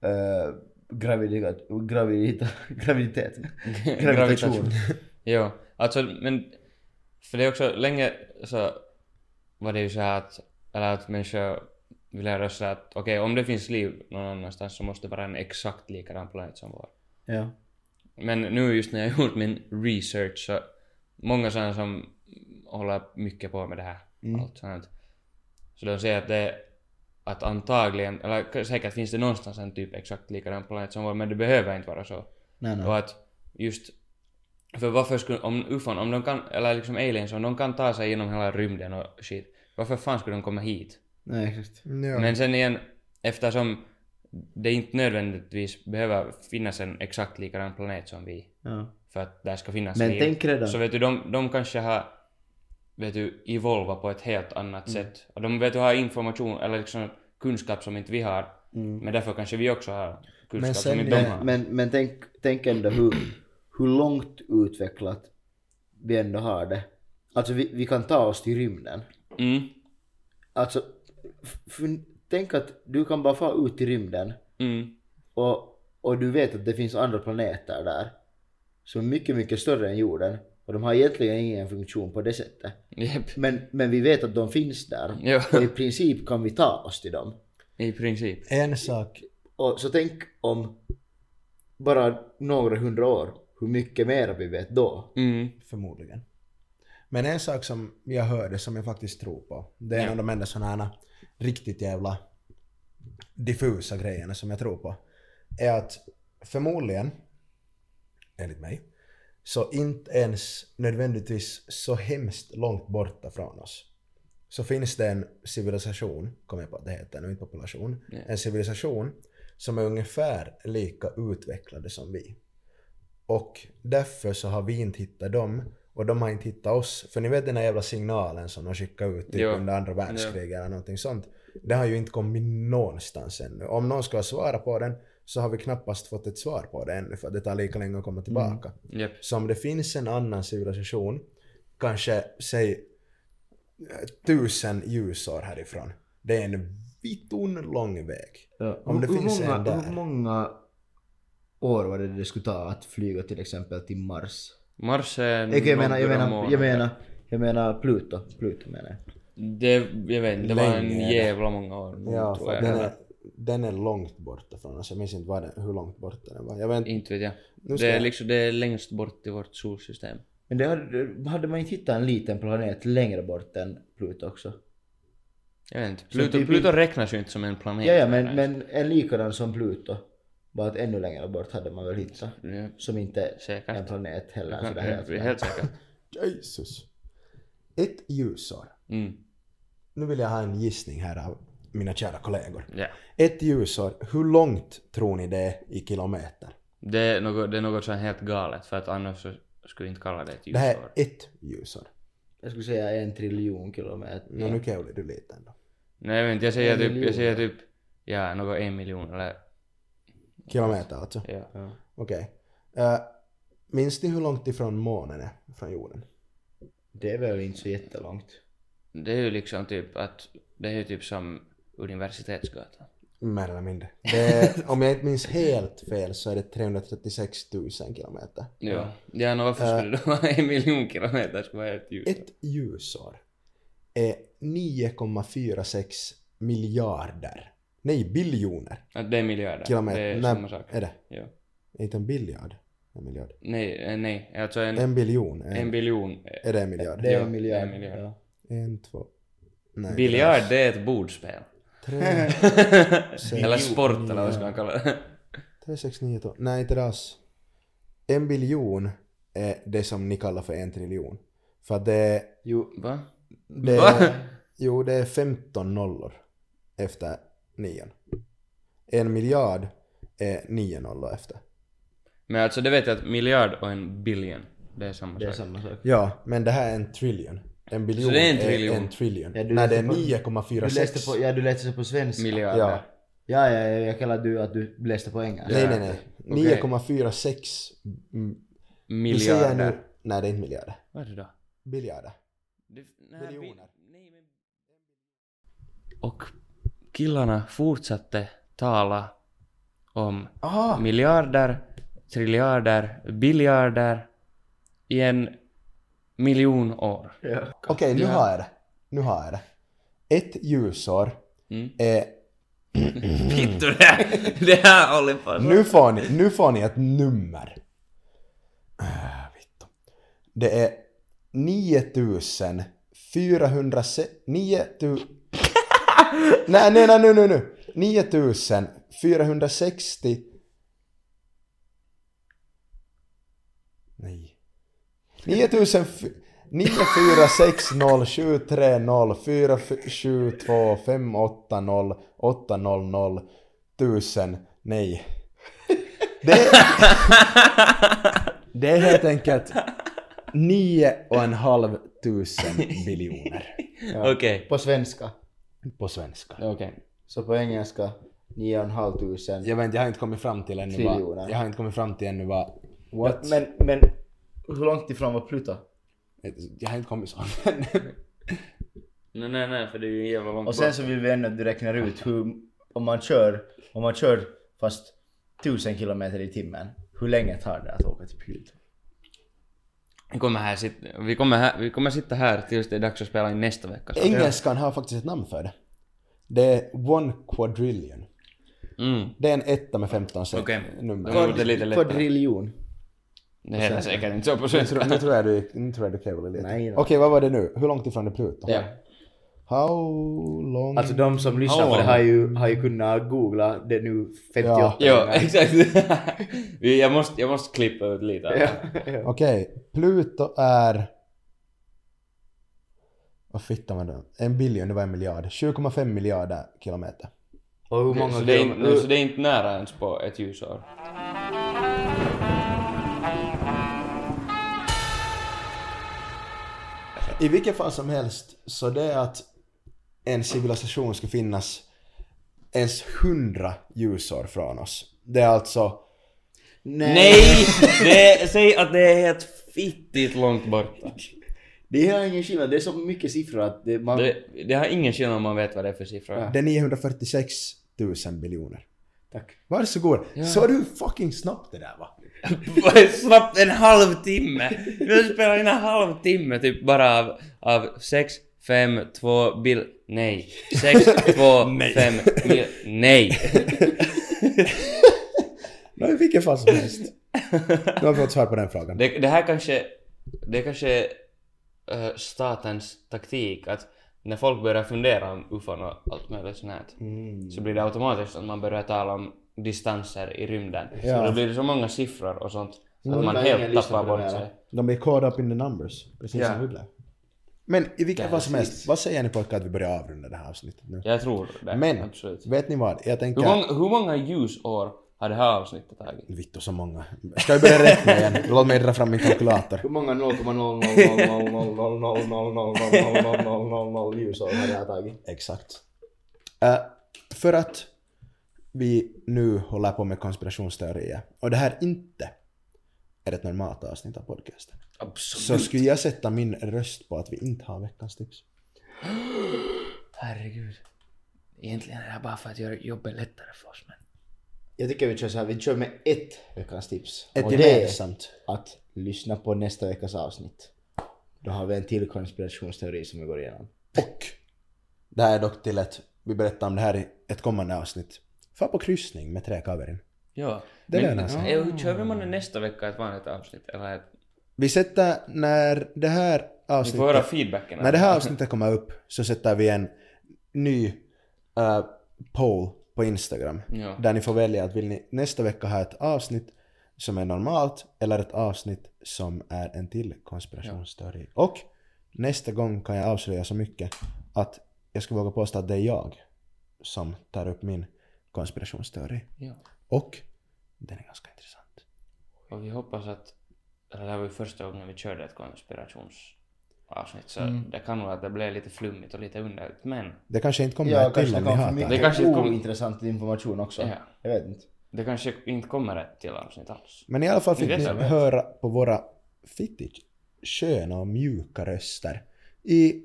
Speaker 2: eh, graviditet, gravidita, graviditet.
Speaker 3: Gravitation.
Speaker 2: Gravitation.
Speaker 3: jo. Alltså, men... För det är också länge så var det ju så här att, eller att människor ville rösta att okej, om det finns liv någon annanstans så måste det vara en exakt likadan planet som vår.
Speaker 2: ja.
Speaker 3: Men nu just när jag har gjort min research så många sådana som håller mycket på med det här. Allt sånt. Så de säger att det att antagligen, eller säkert finns det någonstans en typ exakt likadan planet som vår, men det behöver inte vara så.
Speaker 2: Nej, nej.
Speaker 3: Och att just, för varför skulle, om ufon, om de kan, eller liksom aliens, om de kan ta sig genom hela rymden och shit, varför fan skulle de komma hit?
Speaker 2: Nej, exakt.
Speaker 1: Ja.
Speaker 3: Men sen igen, eftersom det inte nödvändigtvis behöver finnas en exakt likadan planet som vi,
Speaker 2: Ja.
Speaker 3: för att där ska finnas
Speaker 2: Men
Speaker 3: liv.
Speaker 2: tänk redan.
Speaker 3: Så vet du, de, de kanske har vet du, evolva på ett helt annat
Speaker 2: Mm.
Speaker 3: sätt. Och de vet du har information eller liksom kunskap som inte vi har. Men därför kanske vi också har kunskap
Speaker 1: sen-
Speaker 3: som inte de har.
Speaker 2: mm. Men, men, men tänk, tänk ändå hur, hur långt utvecklat vi ändå har det. Alltså vi, vi kan ta oss till rymden.
Speaker 3: Mm,
Speaker 2: Alltså, f- fun- tänk att du kan bara fara ut i rymden
Speaker 3: mm,
Speaker 2: och, och du vet att det finns andra planeter där som är mycket, mycket större än jorden och de har egentligen ingen funktion på det sättet.
Speaker 3: Jep.
Speaker 2: Men, men vi vet att de finns där
Speaker 3: Jo,
Speaker 2: och i princip kan vi ta oss till dem.
Speaker 3: i princip.
Speaker 1: En sak.
Speaker 2: Och så tänk om bara några hundra år, hur mycket mer vi vet då.
Speaker 3: Mm,
Speaker 1: Förmodligen. Men en sak som jag hörde som jag faktiskt tror på. Det är en
Speaker 3: Ja.
Speaker 1: av de enda sådana här riktigt jävla diffusa grejerna som jag tror på. Är att förmodligen, enligt mig, så inte ens nödvändigtvis så hemskt långt borta från oss. Så finns det en civilisation, kommer jag på att det heter nu, inte population.
Speaker 3: Ja.
Speaker 1: En civilisation som är ungefär lika utvecklade som vi. Och därför så har vi inte hittat dem och de har inte hittat oss. För ni vet den här jävla signalen som de skickade ut typ
Speaker 3: Jo.
Speaker 1: under andra världskriget eller någonting sånt. Det har ju inte kommit någonstans ännu. Om någon ska svara på den så har vi knappast fått ett svar på det ännu för det tar lika länge att komma tillbaka.
Speaker 3: jep.
Speaker 1: Så om det finns en annan civilisation, kanske säg eh, tusen ljusår härifrån. Det är en vitun lång väg. Om det
Speaker 2: hur,
Speaker 1: finns
Speaker 2: hur många,
Speaker 1: en där.
Speaker 2: Hur många år var det det skulle ta att flyga till exempel till Mars?
Speaker 3: Mars är
Speaker 2: Okej, jag, menar, jag,
Speaker 3: några
Speaker 2: menar,
Speaker 3: månader.
Speaker 2: jag, menar, jag menar Pluto. Pluto menar jag.
Speaker 3: Det, jag vet inte, det var en
Speaker 1: Länge är det.
Speaker 3: jävla många år.
Speaker 1: Ja,
Speaker 3: tror
Speaker 1: för
Speaker 3: jag.
Speaker 1: den är, den är långt borta från oss. Jag minns inte vad den, hur långt borta den var. Jag vet inte.
Speaker 3: Inte vet jag.
Speaker 1: Nu ska
Speaker 3: Det är
Speaker 1: jag-
Speaker 3: liksom det är längst bort i vårt solsystem.
Speaker 2: Men det hade, hade man inte hittat en liten planet längre bort än Pluto också?
Speaker 3: Jag vet inte. Pluto,
Speaker 2: typ-
Speaker 3: Pluto räknas ju inte som en planet.
Speaker 2: Ja, ja men, men en likadan som Pluto. Bara att ännu längre bort hade man väl hittat.
Speaker 3: Ja,
Speaker 2: Som inte är
Speaker 3: Säkert.
Speaker 2: en planet heller.
Speaker 3: Ja,
Speaker 2: Sådär alltså, helt.
Speaker 3: (laughs) helt, helt säkert.
Speaker 1: Jesus. Ett ljusår.
Speaker 3: Mm.
Speaker 1: Nu vill jag ha en gissning här av mina kära kollegor.
Speaker 3: Ja.
Speaker 1: Ett ljusår, hur långt tror ni det är i kilometer?
Speaker 3: Det är något, det är något som är helt galet för att annars så skulle vi inte kalla det ett
Speaker 1: Det här är
Speaker 3: ljusår.
Speaker 1: ett ljusår.
Speaker 2: Jag skulle säga en triljon kilometer.
Speaker 1: No, nu kevlar du lite ändå.
Speaker 3: Nej jag vet inte, jag säger
Speaker 2: En
Speaker 3: typ,
Speaker 2: miljon.
Speaker 3: jag säger typ, ja något en miljon eller,
Speaker 1: Kilometer alltså.
Speaker 3: ja.
Speaker 2: Ja.
Speaker 1: Okej. Okay. minns ni hur långt ifrån månen är från jorden?
Speaker 2: Det är väl inte så jättelångt.
Speaker 3: Det är ju liksom typ att, det är ju typ som Universitetsgatan.
Speaker 1: Mer eller mindre. Det
Speaker 3: (laughs)
Speaker 1: är, om jag inte minns helt fel så är det 336 000 kilometer.
Speaker 3: Ja. Ja, no, varför skulle det vara en miljon kilometer skulle vara ett ljusår?
Speaker 1: Eh. Ett ljusår är 9,46 miljarder. Nej, biljoner
Speaker 3: Att det är miljarder.
Speaker 1: kilometer.
Speaker 3: Det är
Speaker 1: Nej,
Speaker 3: samma sak.
Speaker 1: Är det?
Speaker 3: Ja.
Speaker 1: Inte en biljard? En miljard.
Speaker 3: Nej, eh, nej, alltså en, en,
Speaker 1: En biljon. En,
Speaker 3: biljon. eh,
Speaker 1: är det en miljard?
Speaker 2: Det är
Speaker 3: Ja,
Speaker 2: en miljard.
Speaker 3: en miljard.
Speaker 2: Ja.
Speaker 1: En, två... Nej,
Speaker 3: Biljard, det är
Speaker 1: (laughs)
Speaker 3: ett bordspel.
Speaker 1: Tre,
Speaker 3: eller sport eller vad ska man kalla det? (laughs)
Speaker 1: tre, sex, nio, tolv. Nej, inte alls. En biljon är det som ni kallar för en triljon. För att det är...
Speaker 2: Jo,
Speaker 3: Va?
Speaker 1: Det
Speaker 3: Va?
Speaker 1: är, jo, det är 15 nollor efter nian. En miljard är nio nollor efter.
Speaker 3: Men alltså det vet jag att miljard och en billion, det är samma
Speaker 2: det är
Speaker 3: sak.
Speaker 2: samma sak.
Speaker 1: Ja, men det här är en trillion. En biljon
Speaker 3: Så det är en trillion?
Speaker 1: en trillion.
Speaker 2: Ja, du
Speaker 1: Nej, det är
Speaker 2: läste på- Du
Speaker 1: 9,46.
Speaker 2: läste på, ja, du läste så på svenska.
Speaker 3: Miljarder.
Speaker 1: Ja.
Speaker 2: Ja, ja, ja, jag kallar du att du läste på engelska.
Speaker 1: Nej, nej, nej.
Speaker 3: Okej.
Speaker 1: 9,46 mm, vi säger
Speaker 3: Miljarder.
Speaker 1: nu... Nej, det är inte miljarder.
Speaker 3: Vad är det då?
Speaker 1: Biljarder.
Speaker 3: Det, nej,
Speaker 1: Miljoner.
Speaker 3: bi- nej, men- Och killarna fortsatte tala om
Speaker 1: Aha!
Speaker 2: Ah!
Speaker 3: miljarder, triljarder, biljarder i en miljon år.
Speaker 1: Okej, nu har jag det. Nu har jag det. Ett ljusår
Speaker 3: (laughs) Mm.
Speaker 1: är...
Speaker 3: Fick du det? Det här håller på
Speaker 1: Nu får ni, nu får ni ett nummer. Äh, vittu. Det är 9400... se- 9000... nej, nej, nej, nu, nu, nu. 9460... Nej. 9460730472580800 Nej. Det är, det är helt enkelt nio och en halv tusen biljoner
Speaker 2: Ja.
Speaker 3: Okej.
Speaker 2: På svenska.
Speaker 1: på svenska.
Speaker 3: Okej.
Speaker 2: Så på engelska, 9,5 tusen.
Speaker 1: Jag vet inte, jag har inte kommit fram till ännu
Speaker 2: Triljoner.
Speaker 1: vad... Jag har inte kommit fram till ännu vad... What?
Speaker 2: Men, men hur långt ifrån var Pluto?
Speaker 1: Jag har inte kommit så (laughs)
Speaker 3: Nej, nej, nej, för det är ju jävla långt
Speaker 2: Och sen så vill vi ändå att du räknar ut hur, om man kör, om man kör fast 1000 kilometer i timmen, hur länge tar det att åka till Pluto?
Speaker 3: Vi kommer, här, sit- vi, kommer här, vi kommer sitta här tills det är dags att spela in nästa vecka. så-
Speaker 1: Engelskan har faktiskt ett namn för det. Det är one quadrillion.
Speaker 3: Mm.
Speaker 1: Det är en etta med 15 cent
Speaker 3: Okej.
Speaker 1: nummer.
Speaker 3: Det var lite lättare.
Speaker 2: Kvadriljon.
Speaker 3: Det heter säkert inte så på
Speaker 1: Nu tror,
Speaker 3: svenska.
Speaker 1: nu tror jag du, nu tror jag du kevlar lite.
Speaker 2: Nej, nej.
Speaker 1: Okej, vad var det nu? Hur långt ifrån är Pluto?
Speaker 3: Ja.
Speaker 1: How long?
Speaker 2: Alltså de som lyssnar på det har ju, har ju kunnat googla det nu 58
Speaker 3: Jo,
Speaker 2: gånger.
Speaker 3: exakt. (laughs) Vi- jag, måste, jag måste klippa ut lite. av det.
Speaker 1: Okej, Pluto är... Vad fittar man då? En biljon, det var en miljard. 7,5 miljarder kilometer.
Speaker 2: (laughs) Och hur många
Speaker 3: Så det, är
Speaker 2: kilometer-
Speaker 3: inte, så det är inte nära ens på ett ljusår.
Speaker 1: I vilket fall som helst, så det är att en civilisation ska finnas ens hundra ljusår från oss. Det är alltså...
Speaker 2: Nej.
Speaker 3: Nej! Det, säg att det är helt fittigt långt borta.
Speaker 2: Det har ingen skillnad, det är så mycket siffror att det, man...
Speaker 3: Det, det har ingen skillnad om man vet vad det är för siffror.
Speaker 1: Det är 946 000 biljoner.
Speaker 2: Tack.
Speaker 1: Varsågod. Så du fucking snabbt det där va?
Speaker 3: Vad är (laughs) Snabbt en halvtimme! Vi har spelat in en halvtimme typ bara av, av 6, 5, 2, bil... Nej. 6, 2, 5, mil... Nej!
Speaker 1: Nå, i vilket fall som helst. (laughs) Nu har vi fått svar på den frågan.
Speaker 3: Det, det här kanske... Det kanske är eh, statens taktik att när folk börjar fundera om ufon och allt möjligt sånt här
Speaker 1: Mm.
Speaker 3: så blir det automatiskt att man börjar tala om distanser i rymden.
Speaker 1: Ja.
Speaker 3: Och då blir det så många siffror och sånt
Speaker 1: Mm.
Speaker 3: att man
Speaker 2: Ingen
Speaker 3: helt
Speaker 2: lyssnar
Speaker 3: tappar
Speaker 2: på det
Speaker 3: bort
Speaker 2: där.
Speaker 3: sig.
Speaker 1: De blir caught up in the numbers, precis
Speaker 3: Ja.
Speaker 1: som vi blev. Men i vilket fall som helst, vad säger ni pojkar att vi börjar avrunda det här avsnittet nu?
Speaker 3: Jag tror det.
Speaker 1: Men,
Speaker 3: Absolut.
Speaker 1: vet ni vad? Jag tänker...
Speaker 3: Hur många, hur många ljusår har det här avsnittet tagit?
Speaker 1: Vittu så många. Ska vi börja räkna igen? Låt mig dra fram min kalkylator.
Speaker 2: Hur många 0,000000000000000000000 ljusår har det här tagit?
Speaker 1: Exakt. Eh, för att vi nu håller på med konspirationsteorier och det här inte är ett normalt avsnitt av podcasten.
Speaker 3: Absolut.
Speaker 1: Så skulle jag sätta min röst på att vi inte har veckans tips.
Speaker 3: Herregud. Egentligen är det här bara för att göra jobbet lättare för oss men...
Speaker 2: Jag tycker vi kör så här, vi kör med ett veckans tips.
Speaker 1: Ett
Speaker 2: och det är
Speaker 1: gemensamt.
Speaker 2: att lyssna på nästa veckas avsnitt. Då har vi en till konspirationsteori som vi går igenom.
Speaker 1: Och det här är dock till att vi berättar om det här i ett kommande avsnitt. Far på kryssning med träkaverin.
Speaker 3: Ja.
Speaker 1: Det
Speaker 3: men,
Speaker 1: lönar sig.
Speaker 3: Eh, hur Kör man det nästa vecka ett vanligt avsnitt? Eller ett...
Speaker 1: Vi sätter när det här
Speaker 3: Vi
Speaker 1: avsnittet...
Speaker 3: får höra feedbacken.
Speaker 1: När det här avsnittet kommer upp så sätter vi en ny eh, poll på Instagram.
Speaker 3: Ja.
Speaker 1: Där ni får välja att vill ni nästa vecka ha ett avsnitt som är normalt eller ett avsnitt som är en till konspirationsteori. Och nästa gång kan jag avslöja så mycket att jag skulle våga påstå att det är jag som tar upp min konspirationsteori.
Speaker 3: Ja.
Speaker 1: Och den är ganska intressant.
Speaker 3: Och vi hoppas att... eller Det här var ju första gången vi körde ett konspirationsavsnitt så det kan vara att det blev lite flummigt och lite underligt men...
Speaker 1: Det kanske inte kommer
Speaker 2: Ja,
Speaker 1: ett till
Speaker 2: kanske
Speaker 1: om
Speaker 2: det
Speaker 1: ni
Speaker 2: kom för
Speaker 1: hatar
Speaker 2: mycket
Speaker 1: det.
Speaker 3: Det kanske kom-
Speaker 2: ointressant information också.
Speaker 3: Ja.
Speaker 2: Jag vet inte.
Speaker 3: Det kanske inte kommer ett till avsnitt alls.
Speaker 1: Men i alla fall fick
Speaker 3: Det är
Speaker 1: ni
Speaker 3: så.
Speaker 1: höra på våra fittigt sköna och mjuka röster i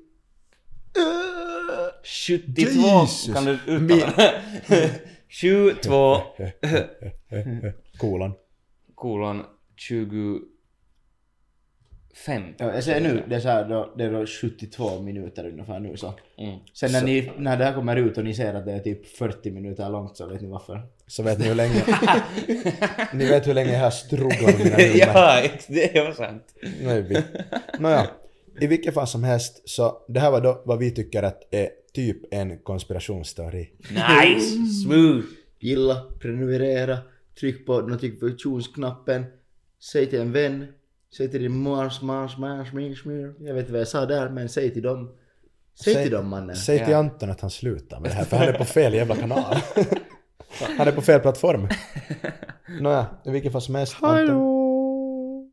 Speaker 3: 72
Speaker 4: Jesus.
Speaker 3: kan du uttala (laughs) det? 72 Mm.
Speaker 1: Kolan.
Speaker 3: kolon 25.
Speaker 2: Ja, jag säger nu, det är, så här, då, det är då 72 minuter ungefär nu så.
Speaker 3: Mm.
Speaker 2: Sen när, ni, när det här kommer ut och ni ser att det är typ 40 minuter långt så vet ni varför.
Speaker 1: Så vet ni hur
Speaker 3: (laughs)
Speaker 1: länge... ni vet hur länge jag har struggat med mina nummer.
Speaker 3: (laughs) ja, ex- det var sant.
Speaker 1: Nej, vi. Nåja, i vilket fall som helst så det här var då vad vi tycker att är typ en konspirationsteori.
Speaker 3: Nice! Smooth!
Speaker 2: Gilla, prenumerera, tryck på notifikationsknappen, säg till en vän, säg till din mars, mars, mars, mars, mars. Jag vet inte vad jag sa där men säg till dem. Säg,
Speaker 1: Säg-
Speaker 2: till dem mannen.
Speaker 1: Säg till
Speaker 3: Ja.
Speaker 1: Anton att han slutar med det här för han är på fel jävla kanal. Han är på fel
Speaker 3: (laughs)
Speaker 1: plattform. Nåja, i vilket fall som helst. Anton,